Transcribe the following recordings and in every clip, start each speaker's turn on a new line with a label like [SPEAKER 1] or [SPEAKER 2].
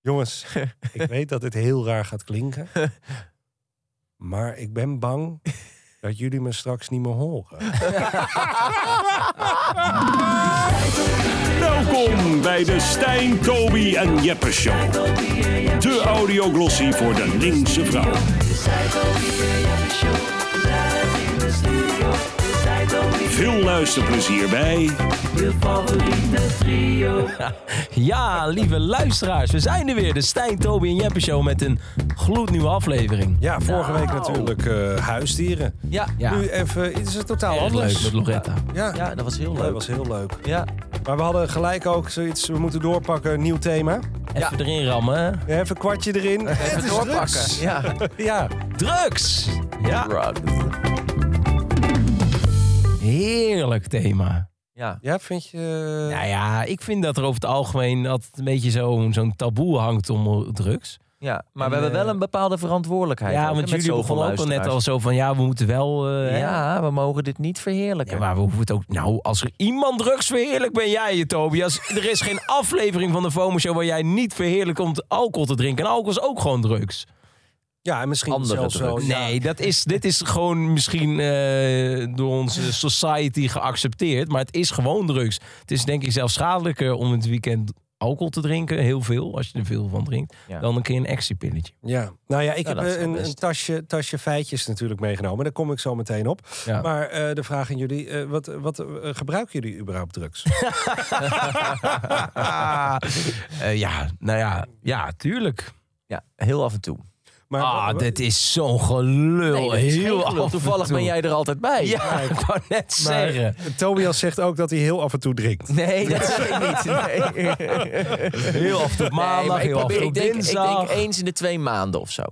[SPEAKER 1] Jongens,
[SPEAKER 2] Ik weet dat dit heel raar gaat klinken. Maar ik ben bang dat jullie me straks niet meer horen.
[SPEAKER 3] Welkom bij de Stijn, Toby en Jeppe Show. De audioglossie voor de linkse vrouw. Veel luisterplezier bij
[SPEAKER 4] Ja, lieve luisteraars, we zijn er weer. De Stijn, Toby en Jeppe Show met een gloednieuwe aflevering.
[SPEAKER 2] Ja, vorige week natuurlijk eh, huisdieren.
[SPEAKER 1] ja,
[SPEAKER 4] Nou. Ja.
[SPEAKER 2] Nu even, het is het totaal
[SPEAKER 4] Erg
[SPEAKER 2] anders.
[SPEAKER 4] leuk met Loretta.
[SPEAKER 2] Ja.
[SPEAKER 4] Ja, dat was heel
[SPEAKER 2] dat
[SPEAKER 4] leuk.
[SPEAKER 2] was heel leuk.
[SPEAKER 4] Ja,
[SPEAKER 2] Maar we hadden gelijk ook zoiets, we moeten doorpakken, nieuw thema.
[SPEAKER 4] even erin rammen. hè.
[SPEAKER 2] Even kwartje erin. Het is drugs.
[SPEAKER 1] doorpakken. Ja.
[SPEAKER 2] Ja,
[SPEAKER 4] Drugs! Ja, heerlijk thema.
[SPEAKER 1] ja.
[SPEAKER 2] ja, vind je...
[SPEAKER 4] Nou ja, ik vind dat er over het algemeen altijd een beetje zo'n zo'n taboe hangt om drugs.
[SPEAKER 1] Ja, maar we hebben wel een bepaalde verantwoordelijkheid. ook,
[SPEAKER 4] eh, Ja,
[SPEAKER 1] hè,
[SPEAKER 4] want
[SPEAKER 1] met
[SPEAKER 4] jullie
[SPEAKER 1] zoveel
[SPEAKER 4] begonnen ook al net al
[SPEAKER 1] luisteraars.
[SPEAKER 4] zo van ja, we moeten wel... eh, hè.
[SPEAKER 1] Ja, we mogen dit niet verheerlijken.
[SPEAKER 4] Ja, maar we hoeven het ook... Nou, als er iemand drugs verheerlijkt, ben jij je, Tobias. Er is geen aflevering van de FOMO Show waar jij niet verheerlijkt om alcohol te drinken. En alcohol is ook gewoon drugs.
[SPEAKER 2] Ja, en misschien
[SPEAKER 1] Andere
[SPEAKER 2] zelfs wel...
[SPEAKER 1] drugs.
[SPEAKER 2] ja.
[SPEAKER 4] Nee, dat is, dit is gewoon misschien eh, door onze society geaccepteerd. Maar het is gewoon drugs. Het is denk ik zelfs schadelijker om in het weekend alcohol te drinken. Heel veel, als je er veel van drinkt.
[SPEAKER 1] Ja.
[SPEAKER 4] Dan een keer een actiepilletje.
[SPEAKER 2] Ja, nou ja, ik
[SPEAKER 1] Ja,
[SPEAKER 2] heb
[SPEAKER 1] dat is
[SPEAKER 2] eh,
[SPEAKER 1] wel
[SPEAKER 2] een,
[SPEAKER 1] best.
[SPEAKER 2] een tasje, tasje feitjes natuurlijk meegenomen. Daar kom ik zo meteen op.
[SPEAKER 4] Ja.
[SPEAKER 2] Maar eh, de vraag aan jullie, eh, wat, wat eh, gebruiken jullie überhaupt drugs?
[SPEAKER 4] Eh, ja, nou ja, ja, tuurlijk.
[SPEAKER 1] Ja, heel af en toe.
[SPEAKER 2] Maar,
[SPEAKER 4] Ah,
[SPEAKER 2] wa-
[SPEAKER 4] dit is zo'n gelul.
[SPEAKER 1] Nee, dat is geen
[SPEAKER 4] Heel
[SPEAKER 1] gelul.
[SPEAKER 4] af en
[SPEAKER 1] Toevallig
[SPEAKER 4] toe.
[SPEAKER 1] ben jij er altijd bij.
[SPEAKER 4] Ja, ik wou net
[SPEAKER 2] maar
[SPEAKER 4] zeggen.
[SPEAKER 2] Tobias zegt ook dat hij heel af en toe drinkt.
[SPEAKER 1] Nee, dat zeg ik niet. Nee.
[SPEAKER 4] Heel af en toe op maandag,
[SPEAKER 1] Nee, maar ik,
[SPEAKER 4] heel af en
[SPEAKER 1] probeer,
[SPEAKER 4] toe
[SPEAKER 1] ik,
[SPEAKER 4] op
[SPEAKER 1] denk, ik denk
[SPEAKER 4] dinsdag. Mm.
[SPEAKER 1] eens in de twee maanden of zo.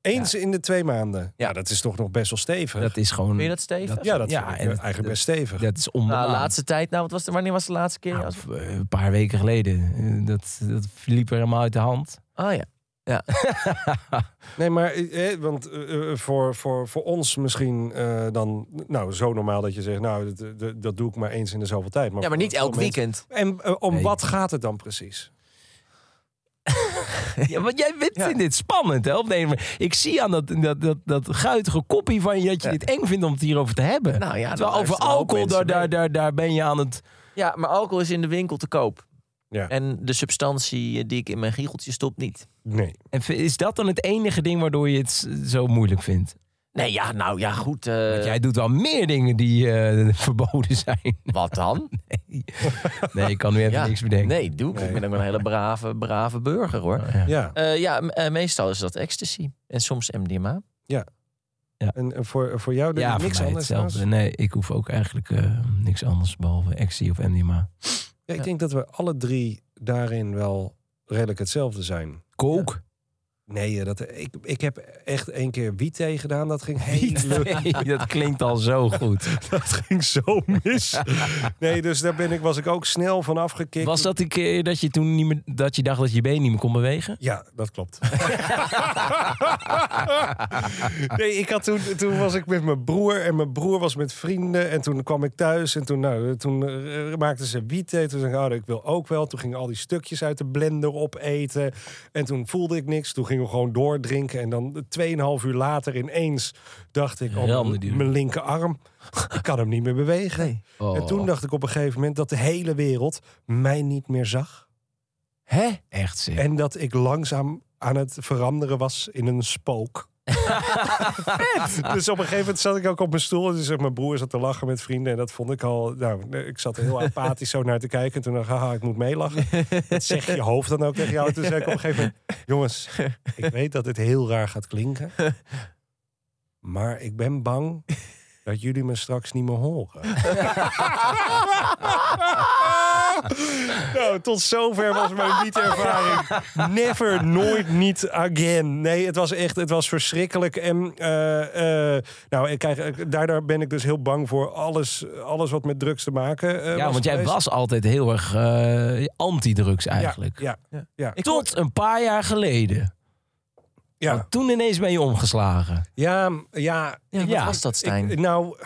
[SPEAKER 2] Eens in de twee maanden. Ja.
[SPEAKER 1] Ja.
[SPEAKER 2] dat is toch nog best wel stevig.
[SPEAKER 4] Dat is gewoon...
[SPEAKER 1] Vind je dat, Steven?
[SPEAKER 2] ja, dat
[SPEAKER 4] Ja,
[SPEAKER 2] vind ik,
[SPEAKER 4] en
[SPEAKER 2] eh,
[SPEAKER 4] het-
[SPEAKER 2] eigenlijk best stevig.
[SPEAKER 4] Dat is om de
[SPEAKER 1] Nou,
[SPEAKER 4] maand.
[SPEAKER 1] laatste tijd. Nou, wat was de, wanneer was de laatste keer?
[SPEAKER 4] Nou,
[SPEAKER 1] Als-
[SPEAKER 4] of, eh, een paar weken geleden. Eh, Dat, dat liep er helemaal uit de hand.
[SPEAKER 1] Oh ja.
[SPEAKER 2] Nee, maar eh, eh, want eh, eh, voor, voor, voor ons misschien eh, dan nou, zo normaal dat je zegt, nou, dat, dat, dat doe ik maar eens in de zoveel tijd. Maar
[SPEAKER 1] ja, maar
[SPEAKER 2] voor-
[SPEAKER 1] niet
[SPEAKER 2] voor
[SPEAKER 1] elk
[SPEAKER 2] mensen-
[SPEAKER 1] weekend.
[SPEAKER 2] En eh, om
[SPEAKER 4] Nee.
[SPEAKER 2] wat gaat het dan precies?
[SPEAKER 4] Ja, want jij vindt
[SPEAKER 1] Ja.
[SPEAKER 4] dit spannend, hè? Op de ene manier. Ik zie aan dat, dat, dat, dat guitige koppie van je dat je
[SPEAKER 1] Ja.
[SPEAKER 4] dit eng vindt om het hierover te hebben.
[SPEAKER 1] Nou ja,
[SPEAKER 4] Terwijl
[SPEAKER 1] dan
[SPEAKER 4] over
[SPEAKER 1] luisteren ook
[SPEAKER 4] alcohol, daar,
[SPEAKER 1] mensen
[SPEAKER 4] daar,
[SPEAKER 1] mee.
[SPEAKER 4] daar, daar ben je aan het...
[SPEAKER 1] Ja, maar alcohol is in de winkel te koop.
[SPEAKER 2] Ja.
[SPEAKER 1] En de substantie eh, die ik in mijn giegeltje stop, niet.
[SPEAKER 2] Nee.
[SPEAKER 4] En v- is dat dan het enige ding waardoor je het s- zo moeilijk vindt?
[SPEAKER 1] Nee, ja, nou ja, goed. eh,
[SPEAKER 4] Want jij doet wel meer dingen die eh, verboden zijn.
[SPEAKER 1] Wat dan?
[SPEAKER 4] Nee, ik kan nu even
[SPEAKER 1] Ja.
[SPEAKER 4] niks bedenken.
[SPEAKER 1] Nee, doe ik.
[SPEAKER 2] Nee.
[SPEAKER 1] Ik ben ook een hele brave, brave burger, hoor.
[SPEAKER 4] Ja.
[SPEAKER 2] Ja.
[SPEAKER 1] Eh, ja, m- eh, meestal is dat ecstasy. En soms MDMA.
[SPEAKER 2] En eh, voor, voor jou
[SPEAKER 4] Ja,
[SPEAKER 2] ja,
[SPEAKER 4] voor
[SPEAKER 2] niks
[SPEAKER 4] mij
[SPEAKER 2] anders.
[SPEAKER 4] hetzelfde.
[SPEAKER 2] Hans?
[SPEAKER 4] Nee, ik hoef ook eigenlijk eh, niks anders behalve XC of MDMA.
[SPEAKER 2] Ja, ik denk dat we alle drie daarin wel redelijk hetzelfde zijn.
[SPEAKER 4] Kook.
[SPEAKER 2] Nee, eh, dat, ik, ik heb echt één keer wiet thee gedaan. Dat ging heel
[SPEAKER 4] dat klinkt al zo goed.
[SPEAKER 2] Dat ging zo mis. Nee, dus daar ben ik, was ik ook snel van afgekikt.
[SPEAKER 4] Was dat een keer dat je toen niet meer, dat je dacht dat je je been niet meer kon bewegen?
[SPEAKER 2] Ja, dat klopt. nee, ik had toen, toen was ik met mijn broer en mijn broer was met vrienden. En toen kwam ik thuis en toen, nou, toen eh, maakten ze wiet thee. Toen zei ik, oh, ik wil ook wel. Toen gingen al die stukjes uit de blender opeten. En toen voelde ik niks. Toen gingen we gewoon doordrinken. En dan 2,5 uur later ineens dacht ik, oh,
[SPEAKER 4] Ramde die.
[SPEAKER 2] mijn, mijn linkerarm, ik kan hem niet meer bewegen.
[SPEAKER 4] Oh.
[SPEAKER 2] En toen eh, dacht ik op een gegeven moment dat de hele wereld mij niet meer zag.
[SPEAKER 4] Hè? Echt zeg.
[SPEAKER 2] En dat ik langzaam aan het veranderen was in een spook. dus op een gegeven moment zat ik ook op mijn stoel. En dus zeg, mijn broer zat te lachen met vrienden. En dat vond ik al... Nou, ik zat er heel apathisch zo naar te kijken. En toen dacht ik, haha, ik moet meelachen. Dat zeg je hoofd dan ook tegen jou. En Toen zei ik op een gegeven moment... Jongens, ik weet dat dit heel raar gaat klinken. Maar ik ben bang dat jullie me straks niet meer horen. nou, tot zover was mijn niet-ervaring. Never, nooit, niet again. Nee, het was echt, het was verschrikkelijk. En eh, eh, nou, ik krijg, ik- daardoor ben ik dus heel bang voor alles, alles wat met drugs te maken eh,
[SPEAKER 4] ja, want jij
[SPEAKER 2] geweest.
[SPEAKER 4] was altijd heel erg eh, anti-drugs eigenlijk.
[SPEAKER 2] Ja, ja, ja.
[SPEAKER 4] Tot een paar jaar geleden.
[SPEAKER 2] ja.
[SPEAKER 4] Want toen ineens ben je omgeslagen.
[SPEAKER 2] Ja, ja.
[SPEAKER 1] Ja, wat
[SPEAKER 4] Ja,
[SPEAKER 1] was dat, Stijn?
[SPEAKER 2] Ik, nou, eh,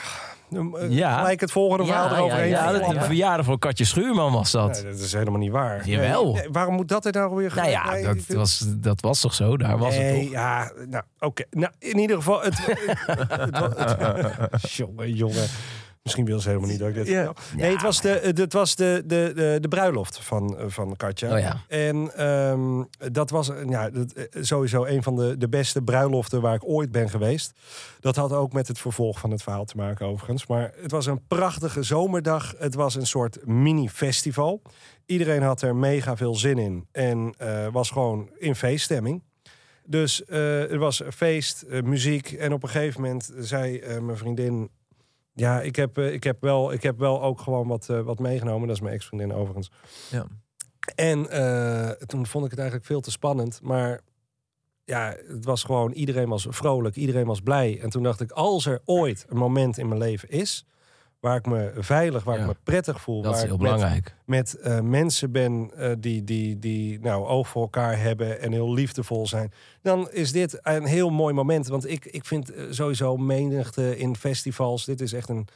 [SPEAKER 4] Ja.
[SPEAKER 2] gelijk het volgende
[SPEAKER 1] Ja,
[SPEAKER 2] verhaal
[SPEAKER 1] ja,
[SPEAKER 2] eroverheen.
[SPEAKER 4] Ja, dat
[SPEAKER 1] ja.
[SPEAKER 4] de verjaardag van Katje Schuurman was dat.
[SPEAKER 2] Nee, dat is helemaal niet waar.
[SPEAKER 4] Jawel.
[SPEAKER 2] Nee, nee, waarom moet dat er nou weer
[SPEAKER 4] nou ja,
[SPEAKER 2] Nee,
[SPEAKER 4] dat,
[SPEAKER 2] ik vind-
[SPEAKER 4] was, dat was toch zo? Daar was het
[SPEAKER 2] Nee,
[SPEAKER 4] toch?
[SPEAKER 2] ja, nou, oké. Nou, in ieder geval... Het, het wa- het- jongen, jongen. Misschien wil ze helemaal niet dat ik dit
[SPEAKER 1] Ja.
[SPEAKER 2] vertel. Nee, het was de, het was de, de, de, de bruiloft van, eh, van Katja.
[SPEAKER 4] Oh ja.
[SPEAKER 2] En ehm, dat was eh, ja, dat, eh, sowieso een van de, de beste bruiloften waar ik ooit ben geweest. Dat had ook met het vervolg van het verhaal te maken overigens. Maar het was een prachtige zomerdag. Het was een soort mini-festival. Iedereen had er mega veel zin in en eh, was gewoon in feeststemming. Dus eh, er was feest, eh, muziek en op een gegeven moment zei eh, mijn vriendin... Ja, ik heb, eh, ik, heb wel, ik heb wel ook gewoon wat, eh, wat meegenomen. Dat is mijn ex-vriendin overigens.
[SPEAKER 1] Ja.
[SPEAKER 2] En eh, toen vond ik het eigenlijk veel te spannend. Maar ja, het was gewoon, iedereen was vrolijk, iedereen was blij. En toen dacht ik, als er ooit een moment in mijn leven is... waar ik me veilig, waar
[SPEAKER 4] Ja.
[SPEAKER 2] ik me prettig voel...
[SPEAKER 4] Dat
[SPEAKER 2] waar
[SPEAKER 4] is
[SPEAKER 2] ik
[SPEAKER 4] heel
[SPEAKER 2] met-
[SPEAKER 4] belangrijk.
[SPEAKER 2] met eh, mensen ben eh, die, die, die nou, oog voor elkaar hebben en heel liefdevol zijn, dan is dit een heel mooi moment. Want ik, ik vind eh, sowieso menigte in festivals, dit is echt een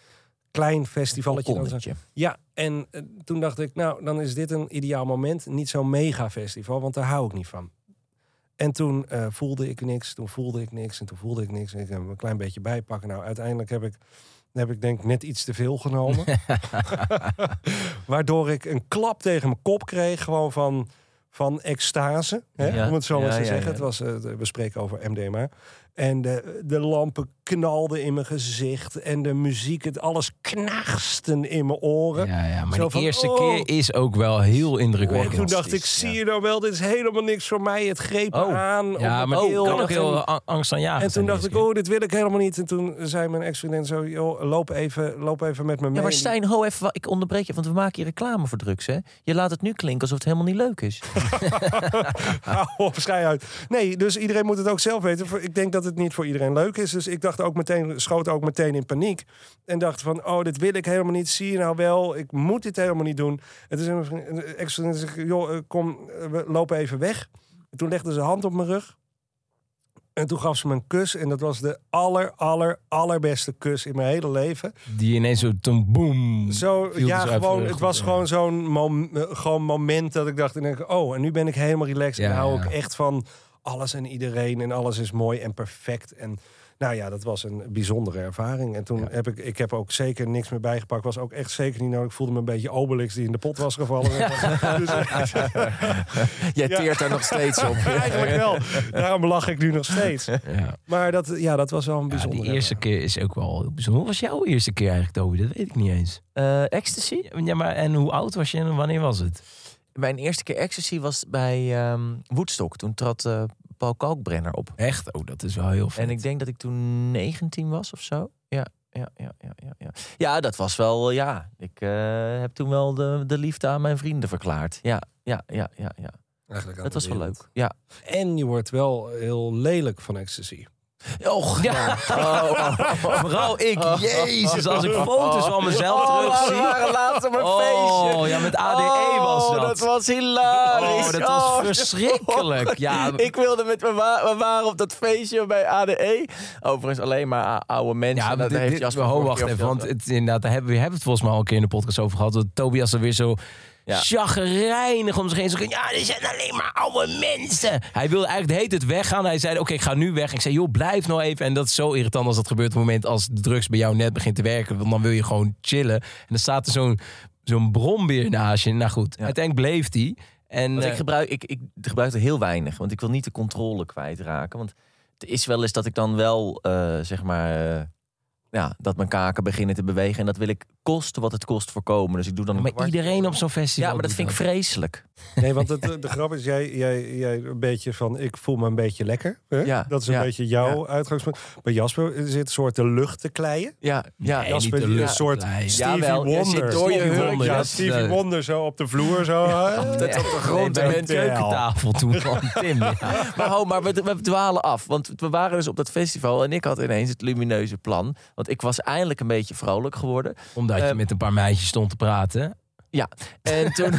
[SPEAKER 2] klein festivalletje. Dan zo-
[SPEAKER 1] Balkonnetje.
[SPEAKER 2] ja, en eh, toen dacht ik, nou, dan is dit een ideaal moment. Niet zo'n mega festival, want daar hou ik niet van. En toen eh, voelde ik niks, toen voelde ik niks en toen voelde ik niks. En ik heb hem een klein beetje bijpakken. Nou, uiteindelijk heb ik, heb ik denk ik net iets te veel genomen. Waardoor ik een klap tegen mijn kop kreeg, gewoon van, van extase. Hè?
[SPEAKER 1] Ja.
[SPEAKER 2] Om het zo maar
[SPEAKER 1] Ja,
[SPEAKER 2] te
[SPEAKER 1] ja,
[SPEAKER 2] zeggen.
[SPEAKER 1] ja.
[SPEAKER 2] Het was, eh, we spreken over MDMA. En de, de lampen knalden in mijn gezicht. En de muziek, het alles knarsten in mijn oren.
[SPEAKER 4] Ja, ja, maar
[SPEAKER 2] Zo
[SPEAKER 4] de
[SPEAKER 2] van,
[SPEAKER 4] eerste
[SPEAKER 2] oh.
[SPEAKER 4] keer is ook wel heel
[SPEAKER 2] En toen
[SPEAKER 4] indrukwekkend.
[SPEAKER 2] dacht ik,
[SPEAKER 1] fantastisch,
[SPEAKER 2] zie
[SPEAKER 1] ja.
[SPEAKER 2] je nou wel, dit is helemaal niks voor mij. Het greep
[SPEAKER 4] Oh,
[SPEAKER 2] aan. op
[SPEAKER 4] ja,
[SPEAKER 2] mijn
[SPEAKER 4] maar
[SPEAKER 2] keel.
[SPEAKER 4] dat kan ook
[SPEAKER 2] En-
[SPEAKER 4] heel a- angstaanjagend
[SPEAKER 2] En toen
[SPEAKER 4] zijn,
[SPEAKER 2] dacht ik,
[SPEAKER 4] deze keer.
[SPEAKER 2] oh, dit wil ik helemaal niet. En toen zei mijn ex-vriendin zo, joh, loop even, loop even met me mee.
[SPEAKER 1] Ja, maar Stijn, ho even, wa- ik onderbreek je, want we maken hier reclame voor drugs, hè? Je laat het nu klinken alsof het helemaal niet leuk is.
[SPEAKER 2] Hou op, schei uit. Nee, dus iedereen moet het ook zelf weten. Voor- Ik denk dat het niet voor iedereen leuk is. Dus ik dacht ook meteen, schoot ook meteen in paniek. En dacht van, oh, dit wil ik helemaal niet. Zie je nou wel, ik moet dit helemaal niet doen. En toen zei mijn vriend- eh, ex-vriendin, zeg ik, joh, eh, kom, eh, we lopen even weg. En toen legde ze een hand op mijn rug. En toen gaf ze me een kus. En dat was de aller, aller, allerbeste kus in mijn hele leven.
[SPEAKER 4] Die ineens zo, toen boem.
[SPEAKER 2] Zo,
[SPEAKER 4] viel
[SPEAKER 2] ja,
[SPEAKER 4] dus uit
[SPEAKER 2] gewoon,
[SPEAKER 4] de
[SPEAKER 2] het
[SPEAKER 4] lucht.
[SPEAKER 2] was
[SPEAKER 4] Ja.
[SPEAKER 2] gewoon zo'n mom- eh, gewoon moment dat ik dacht, en denk, oh, en nu ben ik helemaal relaxed. en
[SPEAKER 4] Ja,
[SPEAKER 2] hou
[SPEAKER 4] ja.
[SPEAKER 2] ik echt van alles en iedereen en alles is mooi en perfect. En nou ja, dat was een bijzondere ervaring. En toen
[SPEAKER 4] Ja.
[SPEAKER 2] heb ik, ik heb ook zeker niks meer bijgepakt. Was ook echt zeker niet nodig. Ik voelde me een beetje Obelix die in de pot was gevallen. dus
[SPEAKER 1] Jij
[SPEAKER 2] Ja.
[SPEAKER 1] teert daar nog steeds op.
[SPEAKER 2] oh, eigenlijk wel. Daarom lach ik nu nog steeds.
[SPEAKER 4] Ja.
[SPEAKER 2] Maar dat, ja, dat was wel een
[SPEAKER 4] Ja,
[SPEAKER 2] bijzondere
[SPEAKER 4] die eerste
[SPEAKER 2] ervaring.
[SPEAKER 4] keer is ook wel heel bijzonder. Hoe was jouw eerste keer eigenlijk, Toby? Dat weet ik niet eens.
[SPEAKER 1] Eh, ecstasy?
[SPEAKER 4] Ja, maar en hoe oud was je en wanneer was het?
[SPEAKER 1] Mijn eerste keer ecstasy was bij ehm Woodstock. Toen trad eh, Paul Kalkbrenner op.
[SPEAKER 4] Echt? Oh, dat is wel heel vet.
[SPEAKER 1] En ik denk dat ik toen 19 was of zo. Ja, ja, ja, ja, ja. Ja, ja dat was wel, ja. Ik eh, heb toen wel de, de liefde aan mijn vrienden verklaard. Ja, ja, ja, ja, ja.
[SPEAKER 2] Eigenlijk aan
[SPEAKER 1] Dat
[SPEAKER 2] de
[SPEAKER 1] was wel
[SPEAKER 2] wereld.
[SPEAKER 1] leuk. Ja.
[SPEAKER 2] En je wordt wel heel lelijk van ecstasy.
[SPEAKER 1] Och, ja. Oh, oh, oh.
[SPEAKER 4] Vooral ik, jezus, Oh. als ik foto's van mezelf terugzie.
[SPEAKER 1] Oh, laatst op een
[SPEAKER 4] Oh, ja, met ADE was dat.
[SPEAKER 1] E was
[SPEAKER 4] Oh,
[SPEAKER 1] hilarisch.
[SPEAKER 4] dat was verschrikkelijk. Ja,
[SPEAKER 1] Ik wilde met mijn wa- we waren op dat feestje bij ADE. Overigens alleen maar oh, a- oude mensen.
[SPEAKER 4] Ja,
[SPEAKER 1] En
[SPEAKER 4] maar
[SPEAKER 1] dat
[SPEAKER 4] dit,
[SPEAKER 1] Dus, eh, heeft
[SPEAKER 4] dit-
[SPEAKER 1] Jasper
[SPEAKER 4] ho,
[SPEAKER 1] vorige
[SPEAKER 4] wacht
[SPEAKER 1] keer
[SPEAKER 4] even,
[SPEAKER 1] verteld.
[SPEAKER 4] want het, inderdaad, daar hebben we we hebben het volgens mij al een keer in de podcast over gehad. Dat Tobias er weer zo
[SPEAKER 1] Ja.
[SPEAKER 4] chagrijnig om zich heen zegt, ja, er zijn alleen maar oude mensen. Hij wilde eigenlijk heet het weggaan. Hij zei, oké, ik ga nu weg. Ik zei, joh, blijf nou even. En dat is zo irritant als dat gebeurt op het moment als de drugs bij jou net begint te werken. Want dan wil je gewoon chillen. En dan staat er zo'n zo'n brombeer naast je. Nou goed,
[SPEAKER 1] Ja.
[SPEAKER 4] uiteindelijk bleef die. En
[SPEAKER 1] Want
[SPEAKER 4] eh,
[SPEAKER 1] ik, gebruik, ik, ik gebruikte heel weinig, want ik wil niet de controle kwijtraken. Want het is wel eens dat ik dan wel, eh, zeg maar, eh, ja, dat mijn kaken beginnen te bewegen. En dat wil ik kosten wat het kost voorkomen. Dus ik doe dan een
[SPEAKER 4] maar
[SPEAKER 1] kwart-
[SPEAKER 4] iedereen op zo'n festival.
[SPEAKER 1] Ja, maar dat
[SPEAKER 4] doet
[SPEAKER 1] vind ik vreselijk.
[SPEAKER 2] Nee, want het, eh, de grap is, jij, jij, jij een beetje van, ik voel me een beetje lekker. Hè?
[SPEAKER 1] Ja,
[SPEAKER 2] dat is een
[SPEAKER 1] ja,
[SPEAKER 2] beetje jouw uitgangspunt. Bij Jasper zit een soort de lucht te kleien.
[SPEAKER 1] Ja, ja.
[SPEAKER 4] Nee,
[SPEAKER 2] Jasper,
[SPEAKER 4] niet de
[SPEAKER 2] een
[SPEAKER 4] lucht
[SPEAKER 2] soort
[SPEAKER 4] kleien.
[SPEAKER 2] Stevie
[SPEAKER 1] Jawel, je
[SPEAKER 2] Wonder.
[SPEAKER 1] zit door je
[SPEAKER 2] Stevie
[SPEAKER 1] hurk,
[SPEAKER 2] Wonder,
[SPEAKER 4] ja,
[SPEAKER 2] ja,
[SPEAKER 4] dat-
[SPEAKER 2] Stevie
[SPEAKER 4] eh,
[SPEAKER 2] Wonder zo op de vloer. Zo, hè?
[SPEAKER 1] dat op de
[SPEAKER 4] Nee,
[SPEAKER 1] grond.
[SPEAKER 4] bij mijn
[SPEAKER 2] bent wel.
[SPEAKER 4] keukentafel toen van Tim. ja.
[SPEAKER 1] Maar, ho, maar we, we dwalen af. Want we waren dus op dat festival en ik had ineens het lumineuze plan. Want ik was eindelijk een beetje vrolijk geworden.
[SPEAKER 4] Omdat je
[SPEAKER 1] Eh,
[SPEAKER 4] met een paar meisjes stond te praten.
[SPEAKER 1] Ja, en toen,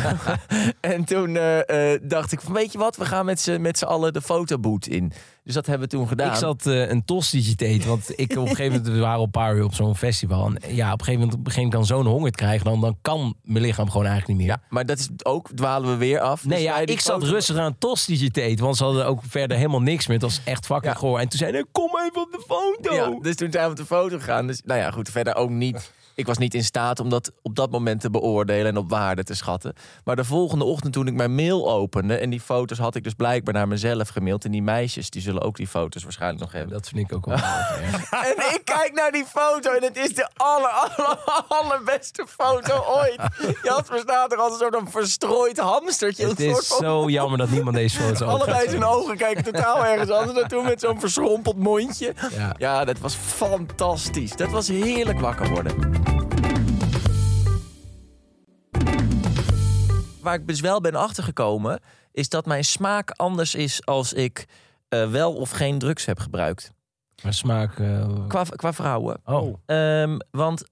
[SPEAKER 1] en toen eh, eh, dacht ik van weet je wat, we gaan met z'n, met z'n allen de fotoboot in. Dus dat hebben we toen gedaan.
[SPEAKER 4] Ik zat eh, een tostietje te eten, want ik op een gegeven moment we waren al een paar uur op zo'n festival. En ja, op een gegeven moment begin ik dan zo'n honger te krijgen, dan, dan kan mijn lichaam gewoon eigenlijk niet meer.
[SPEAKER 1] Maar dat is ook, dwalen we weer af.
[SPEAKER 4] Nee,
[SPEAKER 1] Dus
[SPEAKER 4] ja,
[SPEAKER 1] wij die
[SPEAKER 4] ik zat
[SPEAKER 1] foto-
[SPEAKER 4] rustig aan een tostietje te eten, want ze hadden ook verder helemaal niks meer. Het was echt fucking
[SPEAKER 1] Ja.
[SPEAKER 4] goor. En toen zei hij, kom even op de foto.
[SPEAKER 1] Ja, dus toen zijn we op de foto gegaan. Dus nou ja, goed, verder ook niet. Ik was niet in staat om dat op dat moment te beoordelen en op waarde te schatten. Maar de volgende ochtend toen ik mijn mail opende... en die foto's had ik dus blijkbaar naar mezelf gemaild... en die meisjes die zullen ook die foto's waarschijnlijk nog hebben.
[SPEAKER 4] Dat vind ik ook wel. erg.
[SPEAKER 1] En ik kijk naar die foto en het is de aller, aller, allerbeste foto ooit. Jasper staat er als een soort van verstrooid hamstertje.
[SPEAKER 4] Het
[SPEAKER 1] Een soort
[SPEAKER 4] is
[SPEAKER 1] van-
[SPEAKER 4] zo jammer dat niemand deze foto ook gaat
[SPEAKER 1] Allebei zijn
[SPEAKER 4] zien.
[SPEAKER 1] ogen kijken totaal ergens anders naartoe met zo'n verschrompeld mondje.
[SPEAKER 4] Ja.
[SPEAKER 1] Ja. dat was fantastisch. Dat was heerlijk wakker worden. Waar ik dus wel ben achtergekomen, is dat mijn smaak anders is als ik eh, wel of geen drugs heb gebruikt.
[SPEAKER 4] Maar smaak... eh,
[SPEAKER 1] Qua, qua vrouwen.
[SPEAKER 4] oh,
[SPEAKER 1] Ehm, want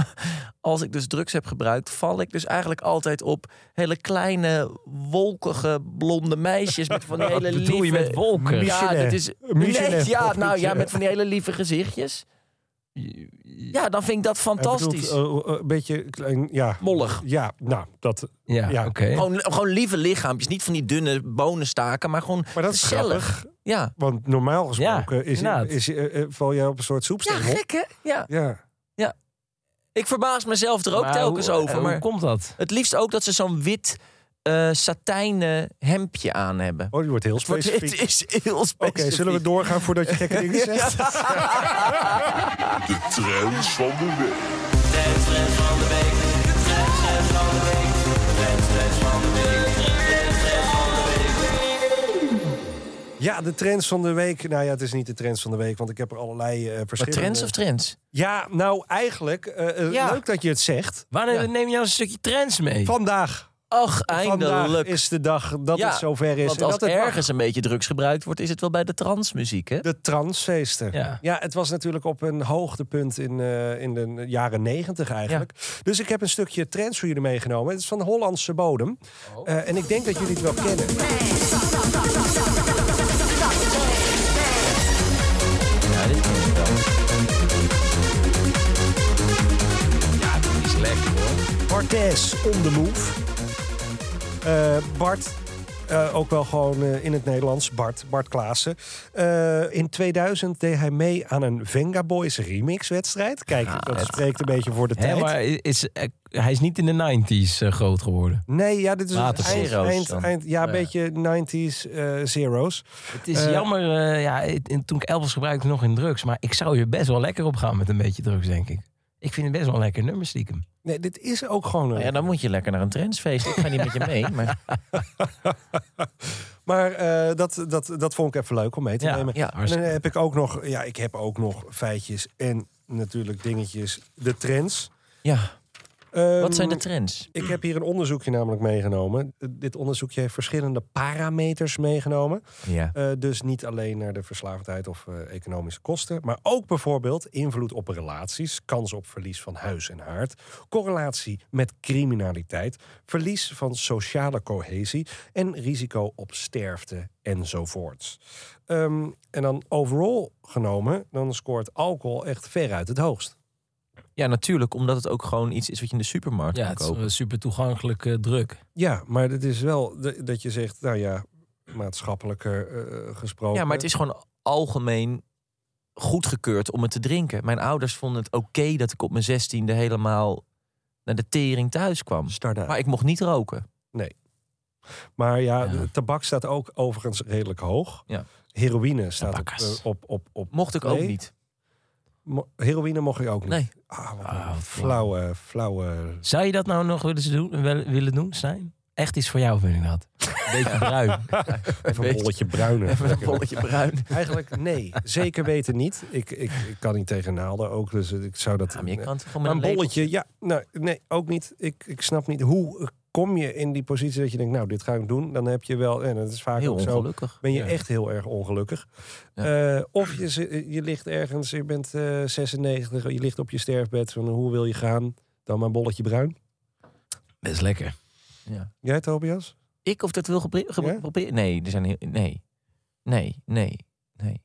[SPEAKER 1] als ik dus drugs heb gebruikt, val ik dus eigenlijk altijd op hele kleine, wolkige, blonde meisjes met van die hele
[SPEAKER 4] wat bedoel
[SPEAKER 1] lieve...
[SPEAKER 4] je met wolken?
[SPEAKER 1] Ja,
[SPEAKER 2] Michelet.
[SPEAKER 1] dat is...
[SPEAKER 2] Michelet,
[SPEAKER 1] Nee, ja,
[SPEAKER 2] of
[SPEAKER 1] nou ja,
[SPEAKER 2] Michelet.
[SPEAKER 1] met van die hele lieve gezichtjes. Ja, dan vind ik dat fantastisch.
[SPEAKER 2] Hij bedoelt, eh, eh, een beetje klein, ja.
[SPEAKER 1] Mollig.
[SPEAKER 2] Ja, nou, dat.
[SPEAKER 4] Ja,
[SPEAKER 2] Ja.
[SPEAKER 4] oké.
[SPEAKER 1] Gewoon, gewoon lieve lichaampjes. Niet van die dunne bonenstaken, maar gewoon
[SPEAKER 2] Maar dat is
[SPEAKER 1] gezellig.
[SPEAKER 2] grappig.
[SPEAKER 1] Ja.
[SPEAKER 2] Want normaal gesproken is,
[SPEAKER 4] inderdaad.
[SPEAKER 2] is, eh, eh, val jij op een soort
[SPEAKER 1] ja,
[SPEAKER 2] soepstengel.
[SPEAKER 1] gek hè? Ja.
[SPEAKER 2] Ja.
[SPEAKER 1] Ik verbaas mezelf er ook
[SPEAKER 4] Maar
[SPEAKER 1] telkens
[SPEAKER 4] hoe-
[SPEAKER 1] over.
[SPEAKER 4] eh,
[SPEAKER 1] Maar
[SPEAKER 4] Hoe komt dat?
[SPEAKER 1] het liefst ook dat ze zo'n wit eh, satijnen hemdje aan hebben.
[SPEAKER 2] Oh, die wordt heel
[SPEAKER 1] Het, wordt,
[SPEAKER 2] specifiek.
[SPEAKER 1] het is heel specifiek.
[SPEAKER 2] Oké, zullen we doorgaan voordat je gekke dingen zegt?
[SPEAKER 3] De trends van de week.
[SPEAKER 2] Ja, de trends van de week. Nou ja, het is niet de trends van de week, want ik heb er allerlei eh
[SPEAKER 1] Maar
[SPEAKER 2] verschillende.
[SPEAKER 1] trends of trends?
[SPEAKER 2] Ja, nou eigenlijk, eh, eh,
[SPEAKER 1] Ja.
[SPEAKER 2] leuk dat je het zegt.
[SPEAKER 4] Wanneer
[SPEAKER 1] Ja.
[SPEAKER 4] neem je nou een stukje trends mee?
[SPEAKER 2] Vandaag,
[SPEAKER 1] Ach,
[SPEAKER 2] vandaag
[SPEAKER 1] eindelijk.
[SPEAKER 2] is de dag dat
[SPEAKER 1] Ja,
[SPEAKER 2] het zover is.
[SPEAKER 1] Want
[SPEAKER 2] en
[SPEAKER 1] als
[SPEAKER 2] dat het mag.
[SPEAKER 1] ergens een beetje drugs gebruikt wordt, is het wel bij de transmuziek, hè?
[SPEAKER 2] De transfeesten.
[SPEAKER 4] Ja.
[SPEAKER 2] Ja. het was natuurlijk op een hoogtepunt in, eh, in de jaren negentig eigenlijk. Dus ik heb een stukje trends voor jullie meegenomen. Het is van Hollandse bodem. Eh, en ik denk dat jullie het wel kennen.
[SPEAKER 1] Ja, dit kan ik wel.
[SPEAKER 4] is lekker hoor.
[SPEAKER 2] Bartes on the move. Eh, Bart, eh, ook wel gewoon eh, in het Nederlands, Bart, Bart Klaassen. Eh, in 2000 deed hij mee aan een Venga Boys remixwedstrijd. Kijk,
[SPEAKER 1] Ah,
[SPEAKER 2] dat spreekt een beetje voor de tijd.
[SPEAKER 4] maar is, eh, hij is niet in de 90s eh, groot geworden.
[SPEAKER 2] Nee, ja, dit is
[SPEAKER 4] Later
[SPEAKER 2] eind,
[SPEAKER 1] zero's
[SPEAKER 2] eind,
[SPEAKER 1] dan.
[SPEAKER 2] eind- ja, een beetje 90s eh, zeros.
[SPEAKER 4] Het is
[SPEAKER 2] Eh,
[SPEAKER 4] jammer, eh, ja, het- en toen ik Elvis gebruikte nog in drugs. Maar ik zou hier best wel lekker op gaan met een beetje drugs, denk ik. Ik vind het best wel een lekker nummer stiekem.
[SPEAKER 2] Nee, dit is ook gewoon een
[SPEAKER 1] Nou ja, dan moet je lekker naar een trendsfeest. Ik ga niet met je mee, maar nou.
[SPEAKER 2] Maar eh, dat, dat, dat vond ik even leuk om mee te
[SPEAKER 4] Ja,
[SPEAKER 2] nemen.
[SPEAKER 1] ja,
[SPEAKER 2] en dan
[SPEAKER 4] hartstikke.
[SPEAKER 2] heb ik ook nog, ja, ik heb ook nog feitjes en natuurlijk dingetjes, de trends.
[SPEAKER 1] ja. Wat
[SPEAKER 2] Ehm,
[SPEAKER 1] zijn de trends?
[SPEAKER 2] Ik heb hier een onderzoekje namelijk meegenomen. Eh, Dit onderzoekje heeft verschillende parameters meegenomen.
[SPEAKER 1] Ja.
[SPEAKER 2] Eh, dus niet alleen naar de verslaafdheid of eh, economische kosten, maar ook bijvoorbeeld invloed op relaties, kans op verlies van huis en haard, correlatie met criminaliteit, verlies van sociale cohesie en risico op sterfte enzovoorts. Ehm, en dan overal genomen, dan scoort alcohol echt veruit het hoogst.
[SPEAKER 1] ja, natuurlijk, omdat het ook gewoon iets is wat je in de supermarkt
[SPEAKER 4] Ja,
[SPEAKER 1] kan
[SPEAKER 4] het is
[SPEAKER 1] kopen.
[SPEAKER 4] eh, super toegankelijk eh, druk.
[SPEAKER 2] Ja, maar het is wel de- dat je zegt, nou ja, maatschappelijker eh, gesproken.
[SPEAKER 1] Ja, maar het is gewoon algemeen goedgekeurd om het te drinken. Mijn ouders vonden het oké dat ik op mijn zestiende helemaal naar de tering thuis kwam.
[SPEAKER 2] Starda.
[SPEAKER 1] Maar ik mocht niet roken.
[SPEAKER 2] Maar ja,
[SPEAKER 4] Ja.
[SPEAKER 2] de tabak staat ook overigens redelijk hoog.
[SPEAKER 1] Ja.
[SPEAKER 2] Heroïne staat op,
[SPEAKER 4] Tabakkas.
[SPEAKER 2] eh, op, op, op.
[SPEAKER 1] Mocht ik ook
[SPEAKER 2] Nee.
[SPEAKER 1] niet.
[SPEAKER 2] Mo- Heroïne mocht je ook niet.
[SPEAKER 1] Nee.
[SPEAKER 2] Ah, wat
[SPEAKER 4] Ah,
[SPEAKER 2] een
[SPEAKER 4] wat
[SPEAKER 2] flauwe, flauwe...
[SPEAKER 4] Zou je dat nou nog willen doen, wel- willen doen zijn? Echt iets voor jou, vind ik dat. Beetje bruin.
[SPEAKER 2] Even een
[SPEAKER 1] beetje-
[SPEAKER 2] bolletje bruine.
[SPEAKER 1] Even een bolletje bruin.
[SPEAKER 2] Eigenlijk nee, zeker weten niet. Ik, ik, ik kan niet tegen naalden ook, dus ik zou dat...
[SPEAKER 1] Ja, maar je kan het gewoon
[SPEAKER 2] Maar
[SPEAKER 1] met
[SPEAKER 2] een
[SPEAKER 1] label-
[SPEAKER 2] bolletje, ja, nou, nee, ook niet. Ik, ik snap niet hoe eh, kom je in die positie dat je denkt, nou, dit ga ik doen. Dan heb je wel, en dat is vaak
[SPEAKER 1] Heel
[SPEAKER 2] ook zo,
[SPEAKER 1] ongelukkig.
[SPEAKER 2] ben je
[SPEAKER 4] Ja.
[SPEAKER 2] echt heel erg ongelukkig. Eh, of je, zi- je ligt ergens, je bent eh, 96, je ligt op je sterfbed. Van, hoe wil je gaan? Dan maar bolletje bruin.
[SPEAKER 4] Best lekker.
[SPEAKER 1] Ja.
[SPEAKER 2] Jij, Tobias?
[SPEAKER 1] Ik of dat wil gepre- gepro-
[SPEAKER 2] Ja?
[SPEAKER 1] proberen? Nee, er zijn heel, nee. Nee, nee, nee, nee, nee.